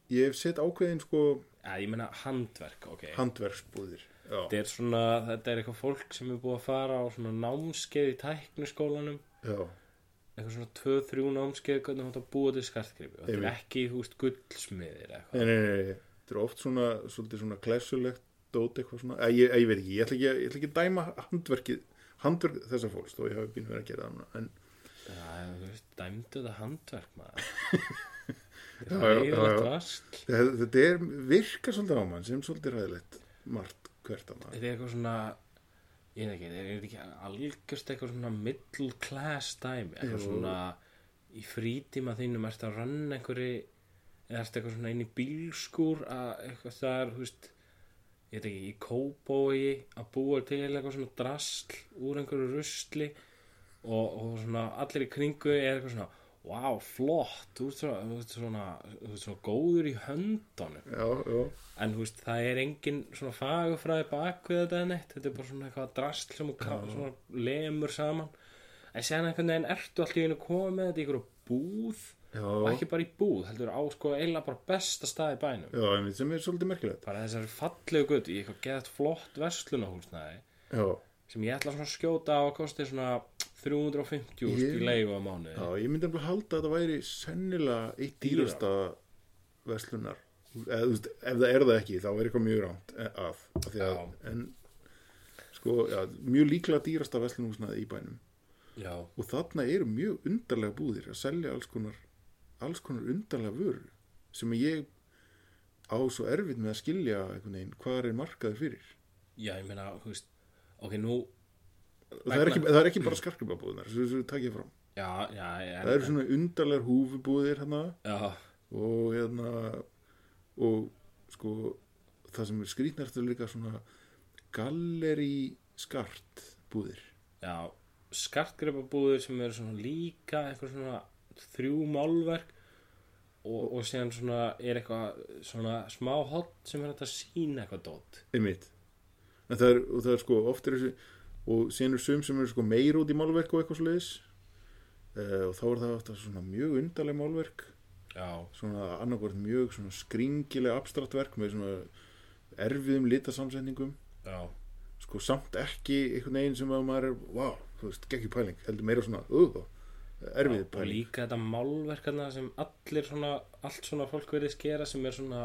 [SPEAKER 2] ég hef sett ákveðin sko
[SPEAKER 1] að, ég meina handverk, ok
[SPEAKER 2] handverksbúðir já,
[SPEAKER 1] þetta er svona, þetta er eitthvað fólk sem er búið að fara á svona námskeið í tækniskólanum
[SPEAKER 2] já,
[SPEAKER 1] eitthvað svona 2-3 námskeið hvernig þú átt að búa til skartgripi og þetta er
[SPEAKER 2] Einmitt.
[SPEAKER 1] ekki, þú veist, gullsmiðir eða
[SPEAKER 2] nei,
[SPEAKER 1] eitthvað
[SPEAKER 2] nei, nei, nei. þetta er oft svona svolítið svona klessulegt dót eitthvað svona, að ég, að ég veit ekki, ég ætla ekki, að- ég ætla ekki að dæma handverkið, handverk þessa fólks þó ég hafi bínu verið að gera það núna en
[SPEAKER 1] Já, þú veist, dæmdu þetta handverk maður
[SPEAKER 2] Já, já, já,
[SPEAKER 1] Leiðilegt
[SPEAKER 2] já.
[SPEAKER 1] rast.
[SPEAKER 2] Þetta þetta er, virkar svolítið á mann sem svolítið ræðilegt margt hvert að maður.
[SPEAKER 1] Þetta er eitthvað svona ég veit ekki, þetta er ekki algjörst eitthvað svona middle class dæmi eitthvað svona í frítíma þínum ertu að rann einhverju eða ertu eitthvað svona inn í bílskúr að eitthvað þar, þú veist ég veit ekki, í kóbói að búa til eitthvað svona drasl úr einhverju rusli og, og svona allir í kringu er eitthvað svona Vá, flott, þú ert svona, þú ert svona, þú ert svona góður í höndunum
[SPEAKER 2] Já, já,
[SPEAKER 1] en þú veist, það er engin svona fagufræði bak við þetta en eitt þetta er bara svona eitthvað drastl sem þú ka- svona lemur saman en sen einhvern veginn ertu alltaf í einu komið með þetta í einhverju búð
[SPEAKER 2] Já.
[SPEAKER 1] og ekki bara í búð, heldur á sko eiginlega bara besta stað í bænum
[SPEAKER 2] já, einmitt sem er svolítið merkilegt.
[SPEAKER 1] bara þessari fallegu gutt í eitthvað geðt flott verslunahúsnaði
[SPEAKER 2] Já,
[SPEAKER 1] sem ég ætla svona að skjóta á að kosti svona 350
[SPEAKER 2] Ég-
[SPEAKER 1] yeah. í leigu á mánuði
[SPEAKER 2] já, ég myndi alveg halda að það væri sennilega eitt dýrasta verslunar. Eða, þú veist, ef það er það ekki, þá er eitthvað mjög rámt eh, að. af því að
[SPEAKER 1] Já.
[SPEAKER 2] en, sko, já, mjög líklega dýrasta verslunhúsnaði í bænum.
[SPEAKER 1] já,
[SPEAKER 2] Og þarna eru mjög undarlega búðir að selja alls konar, alls konar undarlega vörur sem ég á svo erfitt með að skilja einhvern veginn hvað er markaður fyrir.
[SPEAKER 1] já, ég meina, þú veist ok, nú,
[SPEAKER 2] Og það er ekki, það er ekki bara skarkribabúðunar, sem við takja fram.
[SPEAKER 1] já, já, já
[SPEAKER 2] Það eru svona undarlegar húfubúðir hérna
[SPEAKER 1] já,
[SPEAKER 2] og hérna og sko það sem er skrýtnært er líka svona galleri skart búðir.
[SPEAKER 1] já, skartgripabúður sem eru svona líka eitthvað svona þrjú málverk og, og síðan svona er eitthvað svona smá hot sem er hægt að sína eitthvað dót
[SPEAKER 2] Einmitt. En það er, og það er sko oft er þessi og síðan er sum sem eru sko meir út í málverk og eitthvað svoleiðis uh, og þá er það alltaf svona mjög undarleg málverk
[SPEAKER 1] já,
[SPEAKER 2] svona annarkvort mjög svona skringileg abstrakt verk með svona erfiðum litasamsetningum
[SPEAKER 1] já,
[SPEAKER 2] sko samt ekki einhvern veginn sem að maður er, wow, þú veist, geggjum pæling heldur meira svona, uh, erfið
[SPEAKER 1] og
[SPEAKER 2] pæling
[SPEAKER 1] líka þetta málverkarna sem allir svona, allt svona fólk verið skera sem er svona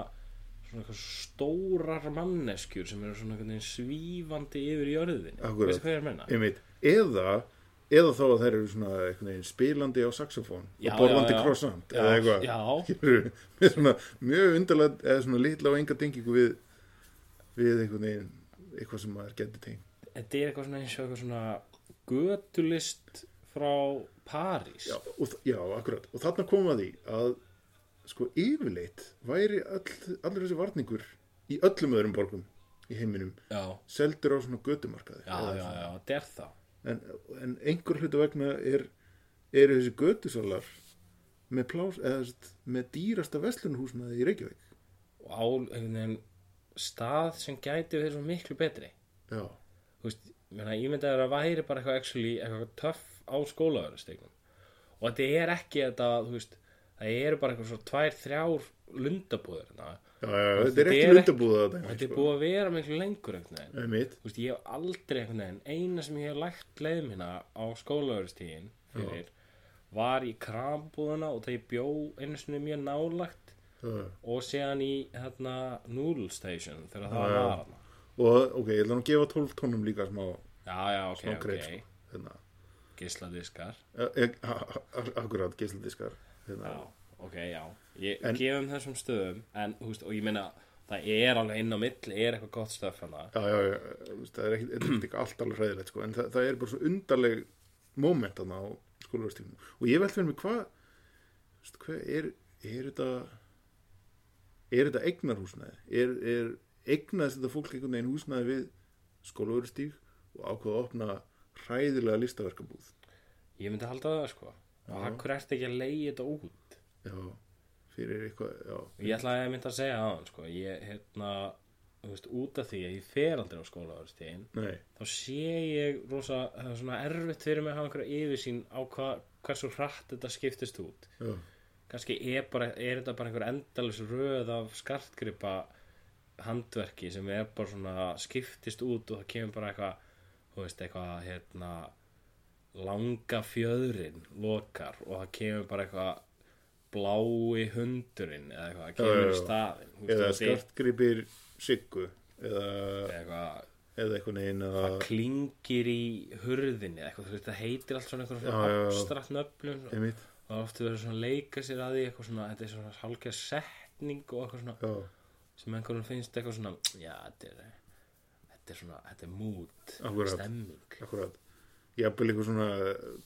[SPEAKER 1] svona eitthvað stórar manneskjur sem eru svona einhvern veginn svífandi yfir jörðinni,
[SPEAKER 2] Akkúrat.
[SPEAKER 1] veistu hvað ég er að menna?
[SPEAKER 2] einmitt, eða eða þá að þær eru svona einhvern veginn spilandi á saxofón
[SPEAKER 1] Já,
[SPEAKER 2] og borðandi
[SPEAKER 1] já, já.
[SPEAKER 2] croissant
[SPEAKER 1] Já,
[SPEAKER 2] eða eitthvað
[SPEAKER 1] já.
[SPEAKER 2] Skilurðu? með svona mjög undarlega eða svona litla og enga tengingu við við einhvern veginn eitthvað sem maður geti tengt
[SPEAKER 1] þetta er eitthvað svona eins og eitthvað svona götulist frá París
[SPEAKER 2] já, og, þ- já, akkurat, og þarna komum að því að sko yfirleitt væri all, allir þessi varningur í öllum öðrum borgum í heiminum
[SPEAKER 1] já.
[SPEAKER 2] seldur á svona götumarkaði
[SPEAKER 1] já,
[SPEAKER 2] Eða
[SPEAKER 1] já, já, þetta er það
[SPEAKER 2] en, en einhver hlutu vegna er, eru þessi götusalar með, plás, eða, sem sagt, með dýrasta veslunhúsnaði í Reykjavík
[SPEAKER 1] og á einhvern veginn stað sem gæti verið svo miklu betri
[SPEAKER 2] já,
[SPEAKER 1] þú veist, ég meina, ég myndi að það væri bara eitthvað actually, eitthvað töff á skólaverðustegnum og þetta er ekki þetta, þú veist, það eru bara eitthvað svo tvær, þrjár lundabúður þarna.
[SPEAKER 2] já, já, já
[SPEAKER 1] Þetta
[SPEAKER 2] þetta er
[SPEAKER 1] er
[SPEAKER 2] ekki sko.
[SPEAKER 1] ekki-
[SPEAKER 2] lundabúða
[SPEAKER 1] og þetta er búið að vera miklu lengur einhvern veginn
[SPEAKER 2] mitt,
[SPEAKER 1] þú veist, ég hef aldrei einhvern veginn eina sem ég hef lægt leið minna á skólaveristígin fyrir var í krambúðuna og það ég bjó einu sinni mjög nálagt
[SPEAKER 2] Já.
[SPEAKER 1] og séðan í hérna Noodle Station þegar það var hana
[SPEAKER 2] og ok, ég ætla nú að gefa 12 tónum líka smá,
[SPEAKER 1] já, já, ok,
[SPEAKER 2] smá
[SPEAKER 1] ok,
[SPEAKER 2] greið sko, hérna.
[SPEAKER 1] geisladiskar
[SPEAKER 2] E- e- a- a- a- akkurat, geisladiskar hérna.
[SPEAKER 1] já, ok, já ég
[SPEAKER 2] En-
[SPEAKER 1] gefum þessum stöðum en, þú veist, og ég meina það er alveg inn á milli, er eitthvað gott stöf hana
[SPEAKER 2] já, já, já, þú veist, það er ekki, þetta er ekki allt alveg hræðilegt sko, en það, það er bara svo undarleg moment þarna á skólaverðstífnum og ég veldi fyrir mig hvað þú veist, hvað er, er þetta er þetta eignarhúsnaði er, er eignaðist þetta fólk einhvern veginn húsnaði við skólaverðstíf og ákvaða að opna hræðilega listaverkabúð
[SPEAKER 1] ég myndi halda það, sko og hakkur ert ekki að leiði þetta út
[SPEAKER 2] já, fyrir eitthvað já,
[SPEAKER 1] ég ætlaði að mynda að segja á hann, sko ég, hérna, þú veist, út af því að ég fer aldrei á skólaveristígin
[SPEAKER 2] nei,
[SPEAKER 1] þá sé ég rosa, það er svona erfitt fyrir mig að hafa einhverja yfirsýn á hva, hversu hratt þetta skiptist út
[SPEAKER 2] já,
[SPEAKER 1] kannski er, bara, er þetta bara einhver endalus röð af skartgripa handverki sem er bara svona skiptist út og það kemur bara eitthvað þú veist eitthvað hérna langa fjöðrin lokar og það kemur bara eitthvað blái hundurinn eða eitthvað, það
[SPEAKER 2] Já, já,
[SPEAKER 1] kemur í
[SPEAKER 2] já.
[SPEAKER 1] staðin þú
[SPEAKER 2] eða
[SPEAKER 1] veist, þetta er
[SPEAKER 2] skartgripir siggu eða,
[SPEAKER 1] eitthvað
[SPEAKER 2] eða einhvern veginn að
[SPEAKER 1] klingir í hurðinni eða eitthvað, þú veist, það heitir allt svona einhverjum
[SPEAKER 2] Já, já, já.
[SPEAKER 1] abstrakt nöfnum
[SPEAKER 2] einmitt
[SPEAKER 1] og það er ofta verið svona að leika sér að því eitthvað svona, þetta er svona hálkja setning og eitthvað svona
[SPEAKER 2] já,
[SPEAKER 1] sem einhverjum finnst eitthvað svona já, þetta er, þetta er svona þetta er mút,
[SPEAKER 2] Akkurat.
[SPEAKER 1] stemming
[SPEAKER 2] akkurat ég hafði eitthvað svona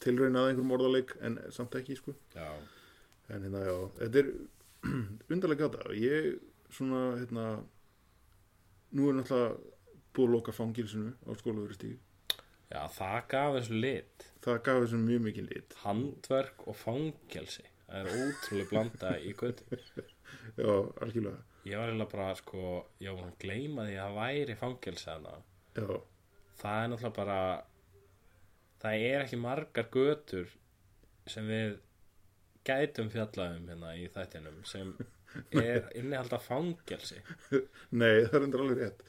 [SPEAKER 2] tilraun að einhverjum orðaleik en samt ekki sko
[SPEAKER 1] já,
[SPEAKER 2] en hérna já, þetta er undarlega gata ég svona hérna nú er náttúrulega búið að loka fangilsinu á skólaveristíð
[SPEAKER 1] já, það gaf þessu lit
[SPEAKER 2] það gaf þessum mjög mikið lit
[SPEAKER 1] handverk og fangelsi það er ótrúlega blanda í götu
[SPEAKER 2] já, algjörlega
[SPEAKER 1] ég var eiginlega bara sko ég var búin að gleyma því að það væri fangelsi þannig
[SPEAKER 2] já,
[SPEAKER 1] það er náttúrulega bara það er ekki margar götur sem við gætum fjallaðum hérna í þættinum sem er innihalda fangelsi
[SPEAKER 2] nei, það er endur alveg rétt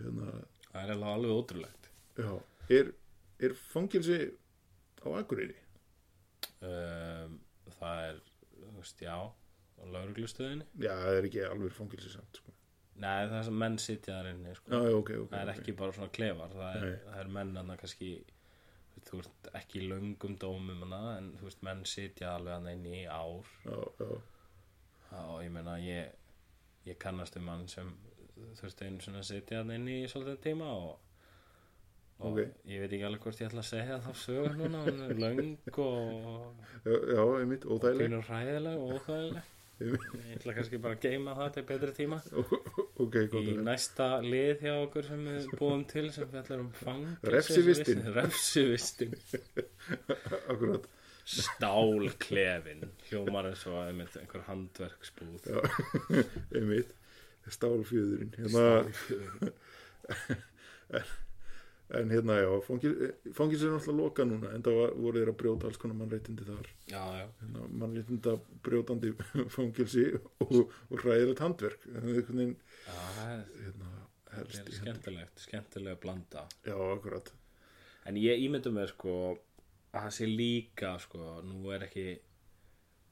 [SPEAKER 2] hérna,
[SPEAKER 1] það er eiginlega alveg ótrúlegt
[SPEAKER 2] já er, er fangilsi á Akureyri?
[SPEAKER 1] um, það er þú veist, já, á lauruglustöðinni
[SPEAKER 2] já, það er ekki alveg fangilsi samt sko.
[SPEAKER 1] nei, það er sem menn sitja þar inni sko.
[SPEAKER 2] já, já, ok, ok
[SPEAKER 1] það er
[SPEAKER 2] ok.
[SPEAKER 1] ekki bara svona klefar það er,
[SPEAKER 2] Nei.
[SPEAKER 1] það er menn annað kannski þú veist ekki í löngum dómum hana, en þú veist menn sitja alveg hann inn í ár
[SPEAKER 2] já, já,
[SPEAKER 1] og ég meina ég, ég kannast um hann sem þurfti einu svona að sitja hann inn í svolítið tíma og, og
[SPEAKER 2] Ok.
[SPEAKER 1] ég veit ekki alveg hvort ég ætla að segja þá sögur núna, hún er löng og
[SPEAKER 2] já, já, einmitt, óþægileg
[SPEAKER 1] pínur hræðileg og óþægileg ég ætla kannski bara að geima það til betri tíma
[SPEAKER 2] ok,
[SPEAKER 1] í
[SPEAKER 2] gott að
[SPEAKER 1] næsta lið hjá okkur sem við búum til sem fjallar um fang
[SPEAKER 2] Refsivistin.
[SPEAKER 1] refsivistin
[SPEAKER 2] akkurat
[SPEAKER 1] stálklefin hljómar eins og einmitt einhver handverksbúð
[SPEAKER 2] Já, einmitt stálfjöðurinn hérna, en, en hérna já fangins er náttúrulega loka núna en það var, voru þeir að brjóta alls konar mannréttindi þar
[SPEAKER 1] já, já,
[SPEAKER 2] hérna, mannréttinda brjótandi fangilsi og, og hræðilegt handverk þannig einhvern veginn
[SPEAKER 1] já það er
[SPEAKER 2] hérna,
[SPEAKER 1] Þetta er
[SPEAKER 2] helst í hendur
[SPEAKER 1] skemmtilegt, skemmtilega að blanda
[SPEAKER 2] já, akkurat,
[SPEAKER 1] en ég ímynda mér sko að það sé líka sko nú er ekki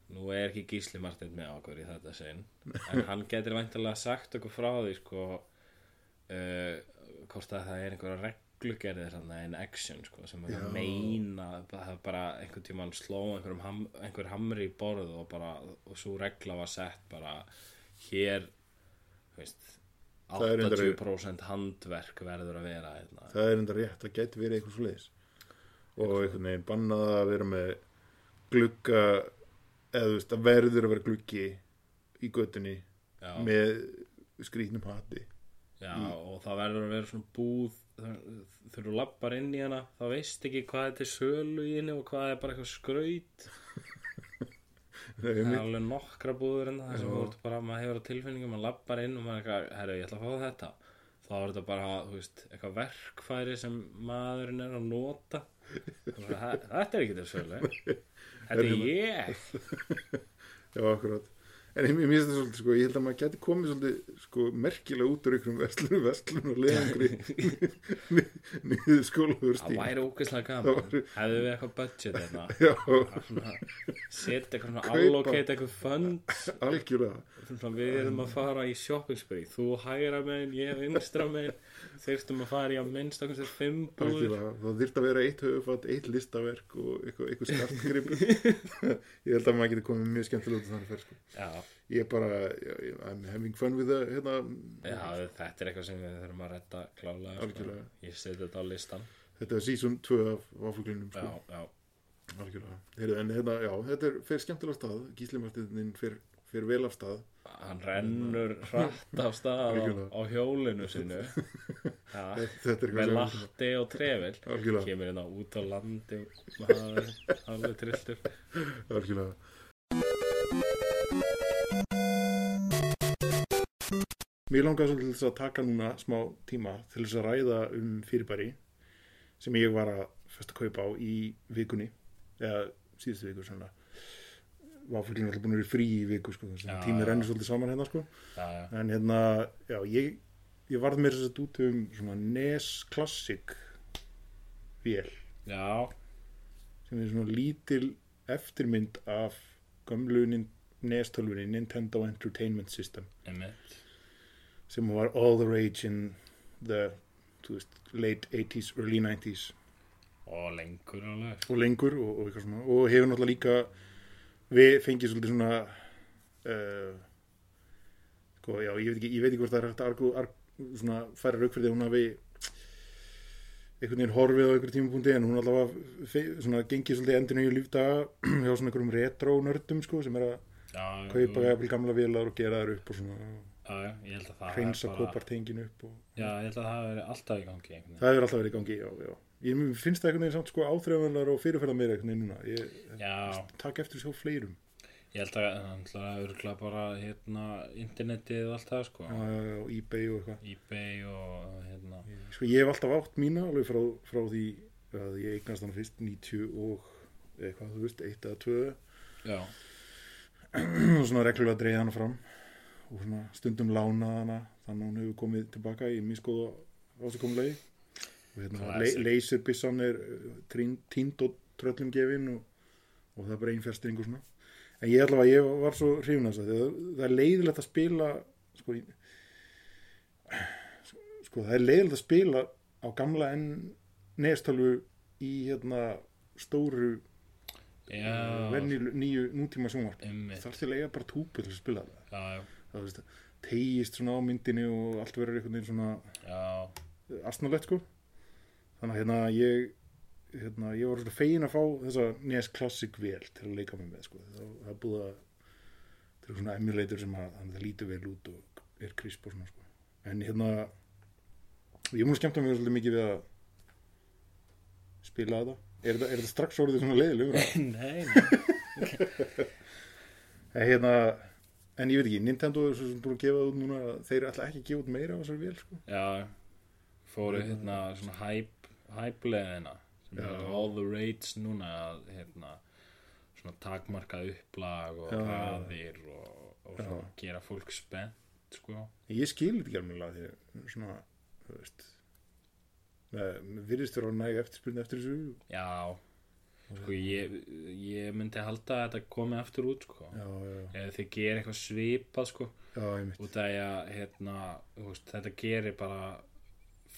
[SPEAKER 1] nú er ekki Gísli Martin með okkur í þetta sinn en hann getur væntalega sagt okkur frá því sko uh, hvort að það er einhverja reglugerðir hann en action sko sem að meina það er bara einhvern tímann sló einhverjum ham, einhver hamri í borð og bara og svo regla var sett bara hér þú veist
[SPEAKER 2] Það er reyndar-
[SPEAKER 1] 80% handverk verður að vera hérna.
[SPEAKER 2] það er enda rétt það gæti verið eitthvað svoleiðis og einhvern veginn bannað að vera með glugga eða þú veist, það verður að vera gluggi í göttunni
[SPEAKER 1] Já.
[SPEAKER 2] með skrýtnum hatti
[SPEAKER 1] Já, og það verður að vera svona búð þau- þegar þú lappar inn í hana þá veist ekki hvað þetta er sölu í henni og hvað er bara eitthvað skraut
[SPEAKER 2] Nei,
[SPEAKER 1] það er
[SPEAKER 2] einmitt.
[SPEAKER 1] alveg nokkra búður en það sem þú ert bara, maður hefur á tilfinningum maður lappar inn og maður er eitthvað, herru, ég ætla að fá þetta þá er þetta bara, þú veist, eitthvað verkfæri sem maðurinn er að nota Og svo, "Þa- þetta er ekki til sölu þetta er ég
[SPEAKER 2] já, akkurat en ég mér finnst það svolítið, sko, ég held að maður geti komið svolítið, sko, merkilega út úr einhverjum verslunum, verslunum og leiðangri niður skólaður
[SPEAKER 1] það
[SPEAKER 2] stíl
[SPEAKER 1] væri ógeðslega
[SPEAKER 2] Það
[SPEAKER 1] gaman
[SPEAKER 2] væri-
[SPEAKER 1] hefðu við eitthvað budget hérna
[SPEAKER 2] já,
[SPEAKER 1] setja eitthvað svona,
[SPEAKER 2] Kaupa.
[SPEAKER 1] allocate eitthvað fund
[SPEAKER 2] algjörlega
[SPEAKER 1] Svona, við erum að fara í shopping spree þú hægra megin, ég vinstra megin þyrstum að fara í að minnst okkur sér fimm búður
[SPEAKER 2] Algjörlega, það þyrft að vera eitt höfufatt, eitt listaverk og eitthvað, eitthvað skartgripur ég held að maður geti komið mjög skemmtilega út af þannig fyrr sko.
[SPEAKER 1] já,
[SPEAKER 2] ég er bara, já, I'm having fun with the hérna,
[SPEAKER 1] já, þetta er eitthvað sem við þurfum að redda klálega sko.
[SPEAKER 2] Algjörlega.
[SPEAKER 1] ég seti þetta á listan
[SPEAKER 2] þetta er season 2 af váfuglinum
[SPEAKER 1] já,
[SPEAKER 2] sko.
[SPEAKER 1] já,
[SPEAKER 2] algjörlega, Heyrðu, en hérna, já, þetta er fyrir skemmtilega af stað, gíslimartinnin fyrir, fyrir vel af stað
[SPEAKER 1] hann rennur hratt af stað á,
[SPEAKER 2] Algjörlega.
[SPEAKER 1] á hjólinu sinu já,
[SPEAKER 2] þetta er
[SPEAKER 1] með
[SPEAKER 2] eitthvað sem-
[SPEAKER 1] latti og trefil
[SPEAKER 2] Algjörlega.
[SPEAKER 1] kemur hérna út á landi maður er alveg trilltur
[SPEAKER 2] algjörlega Mér langar svolítið til þess að taka núna smá tíma til þess að ræða um fyrirbæri sem ég var að fyrst að kaupa á í vikunni eða síðustu viku svona Váfuglinn er alltaf búin að vera í frí í viku sko, þannig
[SPEAKER 1] Já,
[SPEAKER 2] að tími
[SPEAKER 1] já.
[SPEAKER 2] rennur svolítið saman hérna sko
[SPEAKER 1] já, já,
[SPEAKER 2] en hérna, já, ég ég varð mér þess að út um svona NES Classic vél
[SPEAKER 1] já,
[SPEAKER 2] sem er svona lítil eftirmynd af gömlu nin- nestölfunni Nintendo Entertainment System
[SPEAKER 1] einmitt
[SPEAKER 2] sem var all the rage in the þú veist, late 80s, early 90s
[SPEAKER 1] og lengur alveg
[SPEAKER 2] og lengur og, og, eitthvað svona, og hefur náttúrulega líka við fengið svolítið svona uh, sko, já, ég veit ekki ég veit ekki hvort það er hægt að argu, argu, svona, færa rauk fyrir því að hún hafi einhvern veginn horfið á einhver tímapunkti en hún allavega fe- svona, gengið svolítið endinu í lífdaga hjá svona einhverjum retro-nördum sko, sem er að
[SPEAKER 1] já,
[SPEAKER 2] kaupa
[SPEAKER 1] já,
[SPEAKER 2] jafnvel gamla vélar og gera þær upp og svona
[SPEAKER 1] já, ég held að Mm. það hafi
[SPEAKER 2] hreinsa
[SPEAKER 1] bara-
[SPEAKER 2] kopartengin upp og
[SPEAKER 1] já, ég held að það er alltaf í gangi einhvern veginn.
[SPEAKER 2] það hefur alltaf verið í gangi, já, já ég mér finnst það einhvern veginn samt sko áþreifanlegar og fyrirferða meira einhvern veginn núna ég
[SPEAKER 1] já,
[SPEAKER 2] takk eftir sjá fleirum
[SPEAKER 1] ég held að það er örgulega bara hérna, internetið og allt það sko
[SPEAKER 2] já, já, já, ebay og eitthvað
[SPEAKER 1] ebay og hérna
[SPEAKER 2] sko ég hef alltaf átt mína alveg frá, frá því að ég eignast hann fyrst 90 og eitthvað þú veist, eitt eða tvö
[SPEAKER 1] já,
[SPEAKER 2] og svona reglulega dreigði hana fram og svona stundum lánaði hana þannig að hún hefur komið tilbaka í miskoða ásakomlegi og hérna le
[SPEAKER 1] Classic.
[SPEAKER 2] laserbissan er uh, trín- tínd og tröllum gefin og, og það er bara ein fjastringur svona en ég allavega, ég var svo hrifin þess að það, það er leiðilegt að spila sko, í- sko það er leiðilegt að spila á gamla en neðstalvu í hérna stóru
[SPEAKER 1] já,
[SPEAKER 2] venjul, nýju nútíma sjónvarp
[SPEAKER 1] Einmitt.
[SPEAKER 2] þarf til að eiga bara túpu til að spila það
[SPEAKER 1] já, já,
[SPEAKER 2] það veist, tegist svona á myndinni og allt verður einhvern veginn svona
[SPEAKER 1] já
[SPEAKER 2] astnalett sko þannig að hérna ég hérna, ég var svona fegin að fá þessa NES Classic vel til að leika mig með sko það, það er búið að það er svona emulator sem að, þannig að það lítur vel út og er krisp og svona sko en hérna ég múið skemmta mig svolítið mikið við að spila þetta er þetta, er þetta strax orðið svona leiðilegur
[SPEAKER 1] nei, nei,
[SPEAKER 2] En hérna, en ég veit ekki, Nintendo er svo sem búin að gefa út núna, að þeir ætla ekki að gefa út meira af þessari vél, sko.
[SPEAKER 1] já fóru hérna svona hype hype leðina sem er all the rates núna að hérna svona takmarka upplag og
[SPEAKER 2] Já, já, já.
[SPEAKER 1] hraðir og, og svona gera fólk spennt sko
[SPEAKER 2] En ég skil þetta ekki alveg að því, svona, þú veist, með- með virðist vera næg eftirspyrna eftir þessu.
[SPEAKER 1] já sko ég, ég myndi halda að þetta komi aftur út sko
[SPEAKER 2] Já, já,
[SPEAKER 1] eða þið gerir eitthvað svipað sko
[SPEAKER 2] já, ég mitt.
[SPEAKER 1] út af því að hérna, þú veist, þetta gerir bara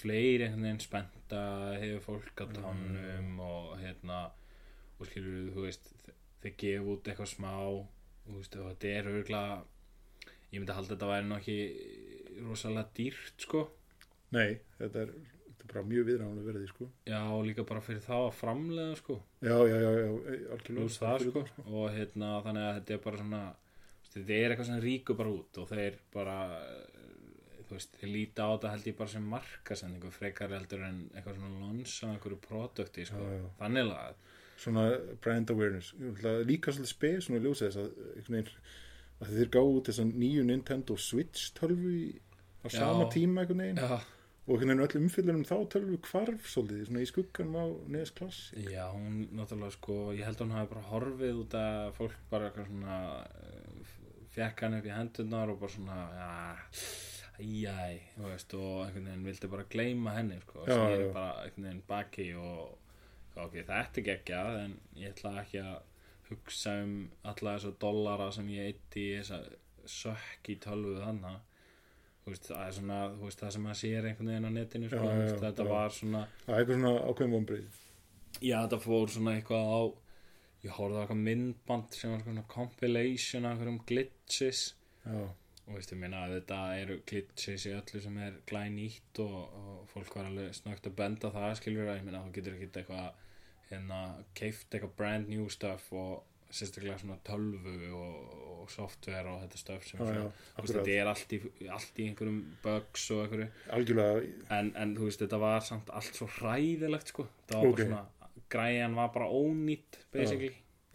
[SPEAKER 1] fleiri einhvern veginn spennta hefur fólk á tánum og hérna og skilur þú veist þe- þeir gefa út eitthvað smá þú veist, og þetta er örgulega ég myndi halda að þetta væri nú ekki rosalega dýrt sko
[SPEAKER 2] Nei, þetta er, þetta er bara mjög viðræðanlega verðið, sko.
[SPEAKER 1] já og líka bara fyrir þá að framlega sko
[SPEAKER 2] Já, já, já, já, e- algjörlega.
[SPEAKER 1] pluss það sko og hérna þannig að þetta er bara svona þú veist, þetta er eitthvað sem ríkur bara út og þeir bara eh, þú veist, þeir líta á þetta held ég bara sem markasendingu frekar heldur en eitthvað svona lons á einhverju produkti sko,
[SPEAKER 2] Já, já.
[SPEAKER 1] þannig lagað
[SPEAKER 2] Svona brand awareness. Ég ætla líka svolítið spes, svona ljósið þess að, einhvern veginn, að þeir gáðu út þessa nýju Nintendo Switch tölvu í, á
[SPEAKER 1] Já.
[SPEAKER 2] sama tíma, einhvern veginn.
[SPEAKER 1] já,
[SPEAKER 2] og einhvern veginn öll umfyllunum þá tölvu kvarf svolítið, svona í skugganum á E neðs klass
[SPEAKER 1] já, hún náttúrulega sko ég held að hún hafi bara horfið út að fólk bara eitthvað svona eh, fékk hann upp í hendurnar og bara svona já, æjæ þú veist, og einhvern veginn vildi bara gleyma henni sko, og
[SPEAKER 2] Já,
[SPEAKER 1] snýri
[SPEAKER 2] já.
[SPEAKER 1] bara einhvern veginn baki og ok, þetta er ekki en ég ætla ekki að hugsa um alla þessa dollara sem ég eitti í þessa sökk í tölvuð hana þú veist, það er svona, þú veist, það sem maður sér einhvern veginn á netinu, sko,
[SPEAKER 2] Já, já,
[SPEAKER 1] þú veist,
[SPEAKER 2] já,
[SPEAKER 1] þetta
[SPEAKER 2] já.
[SPEAKER 1] var svona
[SPEAKER 2] það er eitthvað svona ákveðum vonbreið
[SPEAKER 1] Já, þetta fór svona eitthvað á Ég horfði á eitthvað myndband sem var svona compilation af einhverjum glitches
[SPEAKER 2] já,
[SPEAKER 1] og veistu minna að þetta eru glitches í öllu sem er glænýtt og, og fólk var alveg snögt að benda á það skilur að ég minna þú getur ekki eitthvað hérna, keift eitthvað brand new stuff og sérstaklega svona tölvu og, og software og þetta stuff sem
[SPEAKER 2] Já,
[SPEAKER 1] svona,
[SPEAKER 2] já,
[SPEAKER 1] þú veist,
[SPEAKER 2] akkurat.
[SPEAKER 1] þetta er allt í, allt í einhverjum bugs og einhverju
[SPEAKER 2] algjörlega
[SPEAKER 1] en, en þú veist, þetta var samt allt svo hræðilegt sko. það var
[SPEAKER 2] Ok.
[SPEAKER 1] bara svona græjan var bara ónýtt basically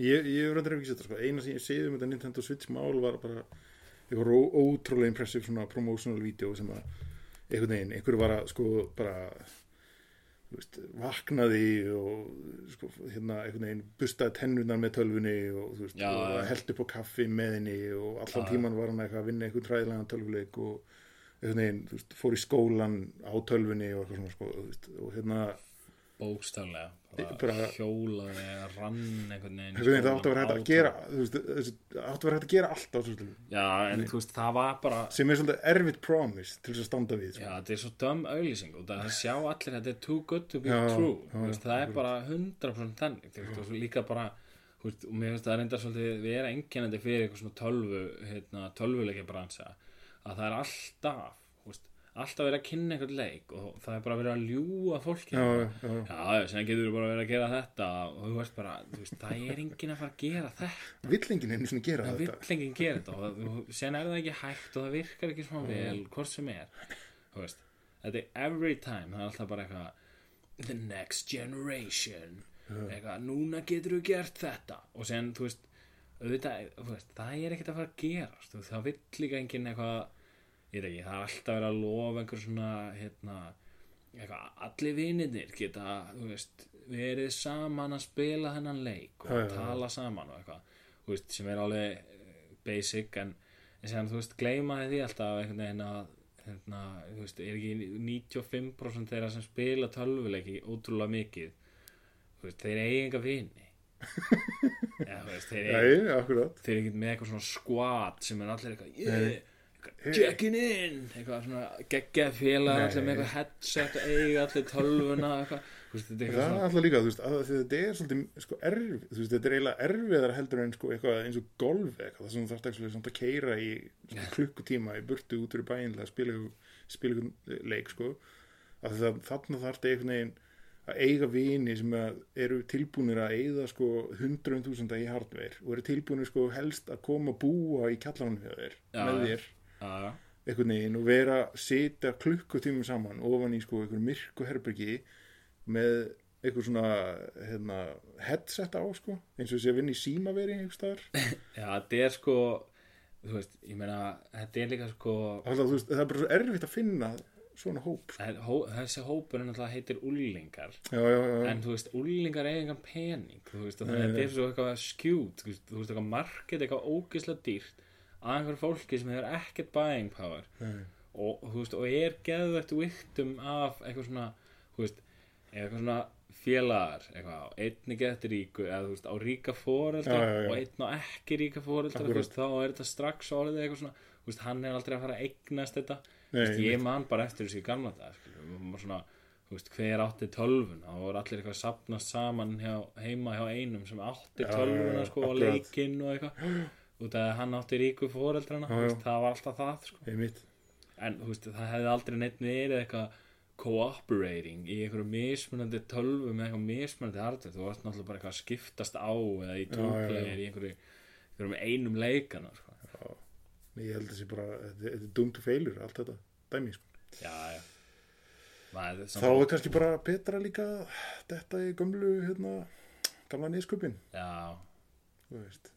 [SPEAKER 2] ég, ég hef reyndar ekki sett það sko, eina sem ég séð um þetta Nintendo Switch mál var bara eitthvað ró- ótrúlega impressive svona promotional video sem að einhvern veginn, einhver var að sko bara þú veist, vaknaði og sko, hérna einhvern veginn bustaði tennunar með tölvunni og þú veist,
[SPEAKER 1] Já,
[SPEAKER 2] og
[SPEAKER 1] já.
[SPEAKER 2] held upp á kaffi með henni og allan tíman var hann eitthvað að vinna einhvern træðilegan tölvuleik og einhvern veginn, þú veist, fór í skólan á tölvunni og eitthvað svona sko, þú veist, og hérna,
[SPEAKER 1] bókstaflega
[SPEAKER 2] Ég
[SPEAKER 1] bara
[SPEAKER 2] bara-
[SPEAKER 1] hjólaði eða rann einhvern veginn í
[SPEAKER 2] einhvern veginn það átti að
[SPEAKER 1] skólann,
[SPEAKER 2] vera hægt
[SPEAKER 1] át-
[SPEAKER 2] að gera þú veist, þessi- átti að vera hægt að gera allt á þessu tölvu
[SPEAKER 1] já, en þú veist, það var bara
[SPEAKER 2] sem er svolítið erfitt promise til þess að standa við
[SPEAKER 1] já,
[SPEAKER 2] sko.
[SPEAKER 1] þetta er svo döm auglýsing og það sjá allir, þetta er too good to be
[SPEAKER 2] Já,
[SPEAKER 1] true
[SPEAKER 2] já,
[SPEAKER 1] já, veist, það er bara 100% þannig þú veist, og svo líka bara þú þú veist, og mér finnst það reynda svolítið vera einkennandi fyrir eitthvað svona tölvu hérna, tölvuleikja bransa að það er alltaf þú veist, alltaf verið að kynna eitthvað leik og það er bara verið að ljúga fólki
[SPEAKER 2] já, já, já.
[SPEAKER 1] já, já sem getur bara verið að gera þetta og þú veist bara, þú veist, það er enginn að fara að gera þetta
[SPEAKER 2] Villingin einu svona gera
[SPEAKER 1] það
[SPEAKER 2] þetta
[SPEAKER 1] vill enginn gera þetta og það- sen er það ekki hægt og það virkar ekki svona vel hvort sem er Þú veist, þetta er every time það er alltaf bara eitthvað the next generation eitthvað, núna getur þú gert þetta og sen, þú veist, auðvitað, þú veist það er ekkert að fara að gerast þú veist, það vill líka enginn eitthvað ég veit ekki, það er alltaf verið að lofa einhver svona hérna eitthvað, allir vinirnir geta þú veist, verið saman að spila þennan leik og
[SPEAKER 2] Já, já, já.
[SPEAKER 1] tala saman og eitthvað þú veist, sem er alveg eh, basic en, en sem þú veist, gleyma því alltaf einhvern veginn að hérna, þú veist, er ekki 95% þeirra sem spila tölvuleiki ótrúlega mikið þú veist, þeir eiga enga vini Já, þú veist, þeir eiga
[SPEAKER 2] Nei, akkurat
[SPEAKER 1] þeir eru ekkert með eitthvað svona squad sem er allir eitthvað yeah, eitthvað checking in eitthvað svona geggjað félag
[SPEAKER 2] Nei.
[SPEAKER 1] allir með eitthvað headset eiga allir tölvuna eitthvað Þú veist, þetta er
[SPEAKER 2] Það
[SPEAKER 1] eitthvað
[SPEAKER 2] er
[SPEAKER 1] svona
[SPEAKER 2] alltaf líka, þú veist, að því þetta er svolítið sko, erf, þú veist, þetta er eiginlega erfiðar heldur en sko, eitthvað eins og golf eitthvað, það sem þú þarft ekki svona að keira í svona klukkutíma í burtu út fyrir bæinn til að spila eitthvað, spila eitthvað leik sko, að það, þarna þarft einhvern veginn að eiga vini sem að eru tilbúnir að eigða sko 100.000 í hardware og eru tilbúnir sko helst að koma að búa í kallanum hjá þér,
[SPEAKER 1] Já,
[SPEAKER 2] með
[SPEAKER 1] já.
[SPEAKER 2] þér
[SPEAKER 1] Já, já.
[SPEAKER 2] einhvern veginn og vera sitja klukkutímum saman ofan í sko einhvern myrku herbergi með einhver svona hérna, headset á sko eins og sé að vinna í símaveri einhvers staðar
[SPEAKER 1] já, þetta er sko þú veist, ég meina, þetta er líka sko
[SPEAKER 2] Alltaf, þú veist, það er bara svo erfitt að finna svona hóp sko.
[SPEAKER 1] það er hó- þessi hópur er náttúrulega heitir úlingar
[SPEAKER 2] já, já, já, já,
[SPEAKER 1] en þú veist, úlingar eiga engan pening þú veist, og þannig að þetta er svo eitthvað skjút þú veist, þú veist, eitthvað market, eitthvað ógislega dýrt að einhver fólki sem hefur ekkert buying power og, þú veist, og er geðvægt vittum af eitthvað svona þú veist, eitthvað svona félagar eitthvað, á einni getur ríku eða þú veist, á ríka foreldra
[SPEAKER 2] Já, já, já.
[SPEAKER 1] og einn á ekki ríka foreldra þú
[SPEAKER 2] Akkurat.
[SPEAKER 1] veist, þá er þetta strax orðið eitthvað svona þú veist, hann er aldrei að fara að eignast þetta Þú
[SPEAKER 2] Nei,
[SPEAKER 1] veist, ég man bara eftir þessu í gamla dag svona, þú veist, hver átti tölvun þá voru allir eitthvað að sapnast saman hjá, heima hjá einum sem átti
[SPEAKER 2] Já, já,
[SPEAKER 1] tölvuna
[SPEAKER 2] já,
[SPEAKER 1] sko, og
[SPEAKER 2] akkurat.
[SPEAKER 1] leikinn og eitthvað út af að hann átti ríku foreldrana þú
[SPEAKER 2] já.
[SPEAKER 1] veist, það var alltaf það sko.
[SPEAKER 2] einmitt
[SPEAKER 1] en þú veist, það hefði aldrei neitt verið eitthvað cooperating í einhverju mismunandi tölvu með eitthvað mismunandi hardware þú varst náttúrulega bara eitthvað að skiptast á eða í tólplegir í einhverju, einhverjum einum leikana sko.
[SPEAKER 2] Nei, ég held að sé bara, þetta þetta er dumt og feilur allt þetta, dæmi sko
[SPEAKER 1] já, já Maður,
[SPEAKER 2] þá er kannski bara betra líka þetta í gömlu, hérna gamla nýskupin,
[SPEAKER 1] já,
[SPEAKER 2] þú veist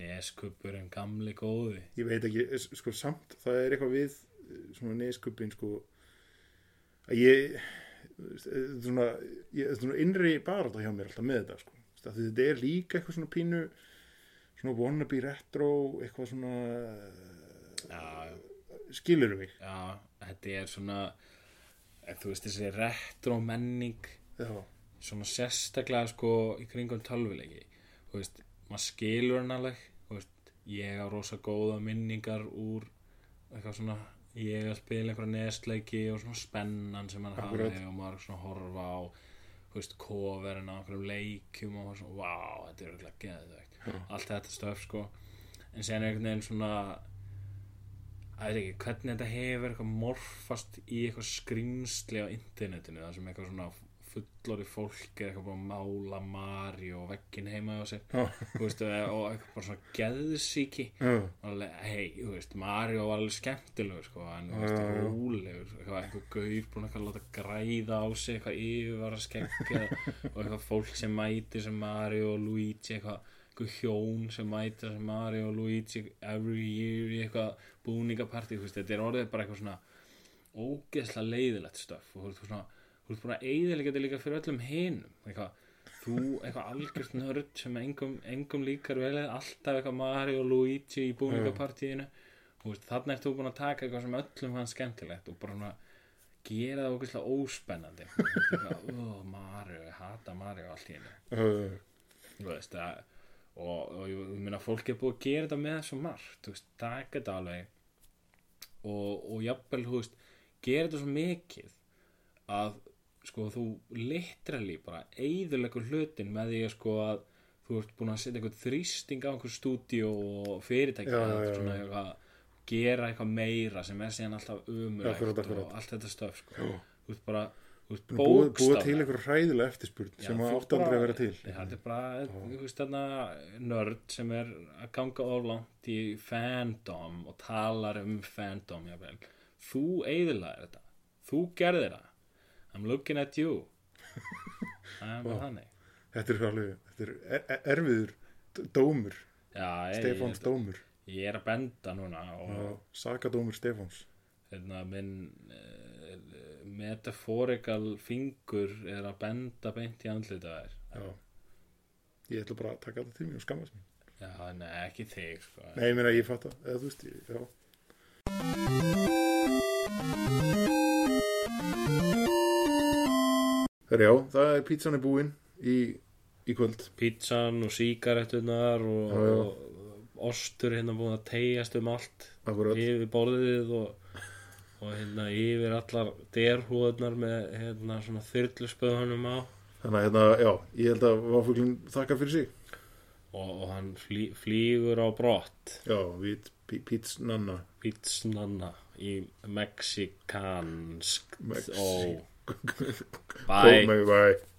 [SPEAKER 1] Neskupurinn gamli góði
[SPEAKER 2] ég veit ekki, s- sko samt það er eitthvað við eh, svona neskupin sko að ég þú veist, eh, þetta er svona, ég, þetta er svona innri barata hjá mér alltaf með þetta sko Þú veist, af því þetta er líka eitthvað svona pínu svona wannabe retro eitthvað svona
[SPEAKER 1] Já,
[SPEAKER 2] skilur mig
[SPEAKER 1] já, þetta er svona eh, þú veist þessi retro menning
[SPEAKER 2] já,
[SPEAKER 1] svona sérstaklega sko í kringum tölvuleiki þú veist, maður skilur hann alveg þú veist, ég á rosa góða minningar úr eitthvað svona ég að spila einhverja nesleiki og svona spennan sem hann
[SPEAKER 2] Akkurat.
[SPEAKER 1] hafði og maður svona að horfa á þú veist, coverin á einhverjum leikjum og maður svona, vá, þetta er eitthvað geðvegt allt þetta stöf sko en sen er einhvern veginn svona að veit ekki, hvernig þetta hefur eitthvað morfast í eitthvað skrýmsli á internetinu, það sem eitthvað svona fullori fólk er eitthvað búin að mála mari og veggin heima á sér
[SPEAKER 2] Já.
[SPEAKER 1] þú veist, eh, og eitthvað bara svona geðsíki
[SPEAKER 2] já,
[SPEAKER 1] alveg, hei, þú veist, Mario var alveg skemmtilegur, sko, en þú
[SPEAKER 2] Já,
[SPEAKER 1] veist,
[SPEAKER 2] já, já.
[SPEAKER 1] rólegur, eitthvað, eitthvað gaur búinn eitthvað að láta græða á sig, eitthvað yfirvara skeggjað og eitthvað fólk sem mæti sem Mario og Luigi, eitthvað, eitthvað hjón sem mæti sem Mario og Luigi every year í eitthvað búningapartí, þú veist, þetta er orðið bara eitthvað svona ógeðslega leiðilegt stöf og þú ert svona, þú ert búin að eiðilega þetta líka fyrir öllum hinum eitthvað, þú eitthvað algjörst nörd sem engum, engum líkar vel eða alltaf eitthvað Mario og Luigi í búningapartíinu þú veist, þannig ert þú búin að taka eitthvað sem öllum fann skemmtilegt og bara svona gera það ógeðslega óspennandi Þú veist, eitthvað, ó, Mario, ég hata Mario allt í henni
[SPEAKER 2] já, já,
[SPEAKER 1] þú veist að, og, og ég ég meina fólk er búið að gera þetta með svo margt þú veist, taka þetta alveg og, og jafnvel, þú veist gera þetta svo mikið að sko þú litrali bara eyðurlegur hlutin með því að sko að þú ert búin að setja einhvern þrýsting á einhver stúdíu og fyrirtæki
[SPEAKER 2] Já,
[SPEAKER 1] að
[SPEAKER 2] já, já.
[SPEAKER 1] svona eitthvað, gera eitthvað meira sem er síðan alltaf
[SPEAKER 2] Akkurat,
[SPEAKER 1] umrækt
[SPEAKER 2] akkurat.
[SPEAKER 1] og allt þetta stöf sko. þú ert bara þú ert
[SPEAKER 2] búið, búið til
[SPEAKER 1] bókstaflega-
[SPEAKER 2] einhver hræðilega eftirspurn
[SPEAKER 1] Já,
[SPEAKER 2] sem
[SPEAKER 1] þú
[SPEAKER 2] að
[SPEAKER 1] ert
[SPEAKER 2] átt aldrei að
[SPEAKER 1] bara-
[SPEAKER 2] vera til
[SPEAKER 1] Nei, þetta er bara einhver stanna nörd sem er að ganga oflant í fandom og talar um fandom jafnvel. þú eigðilaðir þetta þú gerðir það I'm looking at you það er bara þannig
[SPEAKER 2] þetta er alveg þetta er er- er- erfiður d- dómur
[SPEAKER 1] Já, ég,
[SPEAKER 2] Stefáns
[SPEAKER 1] ég,
[SPEAKER 2] dómur
[SPEAKER 1] ég er að benda núna og
[SPEAKER 2] Já, sakadómur Stefáns
[SPEAKER 1] hérna, minn uh, metaforikal fingur er að benda beint í andlita þær
[SPEAKER 2] Já. ég ætla bara að taka þetta til mér og skammast mér
[SPEAKER 1] Já, nei, ekki þig sko.
[SPEAKER 2] nei, ég meina ég fatt að eða þú veist ég, já. Herra, já, það er pítsan er búin í, í kvöld
[SPEAKER 1] Pizzan og sígarettunar og,
[SPEAKER 2] Já, já.
[SPEAKER 1] og ostur hérna búin að tegjast um allt
[SPEAKER 2] Akkurat.
[SPEAKER 1] yfir borðið og, og hérna yfir allar derhúðunar með hérna svona þyrluspöðunum á
[SPEAKER 2] þannig að hérna, já, ég held að váfuglinn þakkar fyrir sig
[SPEAKER 1] og, og hann flý, flýgur á brott
[SPEAKER 2] já, við pítsnanna
[SPEAKER 1] Pizzanna í mexikansk
[SPEAKER 2] Mexí-
[SPEAKER 1] ó, bye
[SPEAKER 2] Bye. Bye. Bye.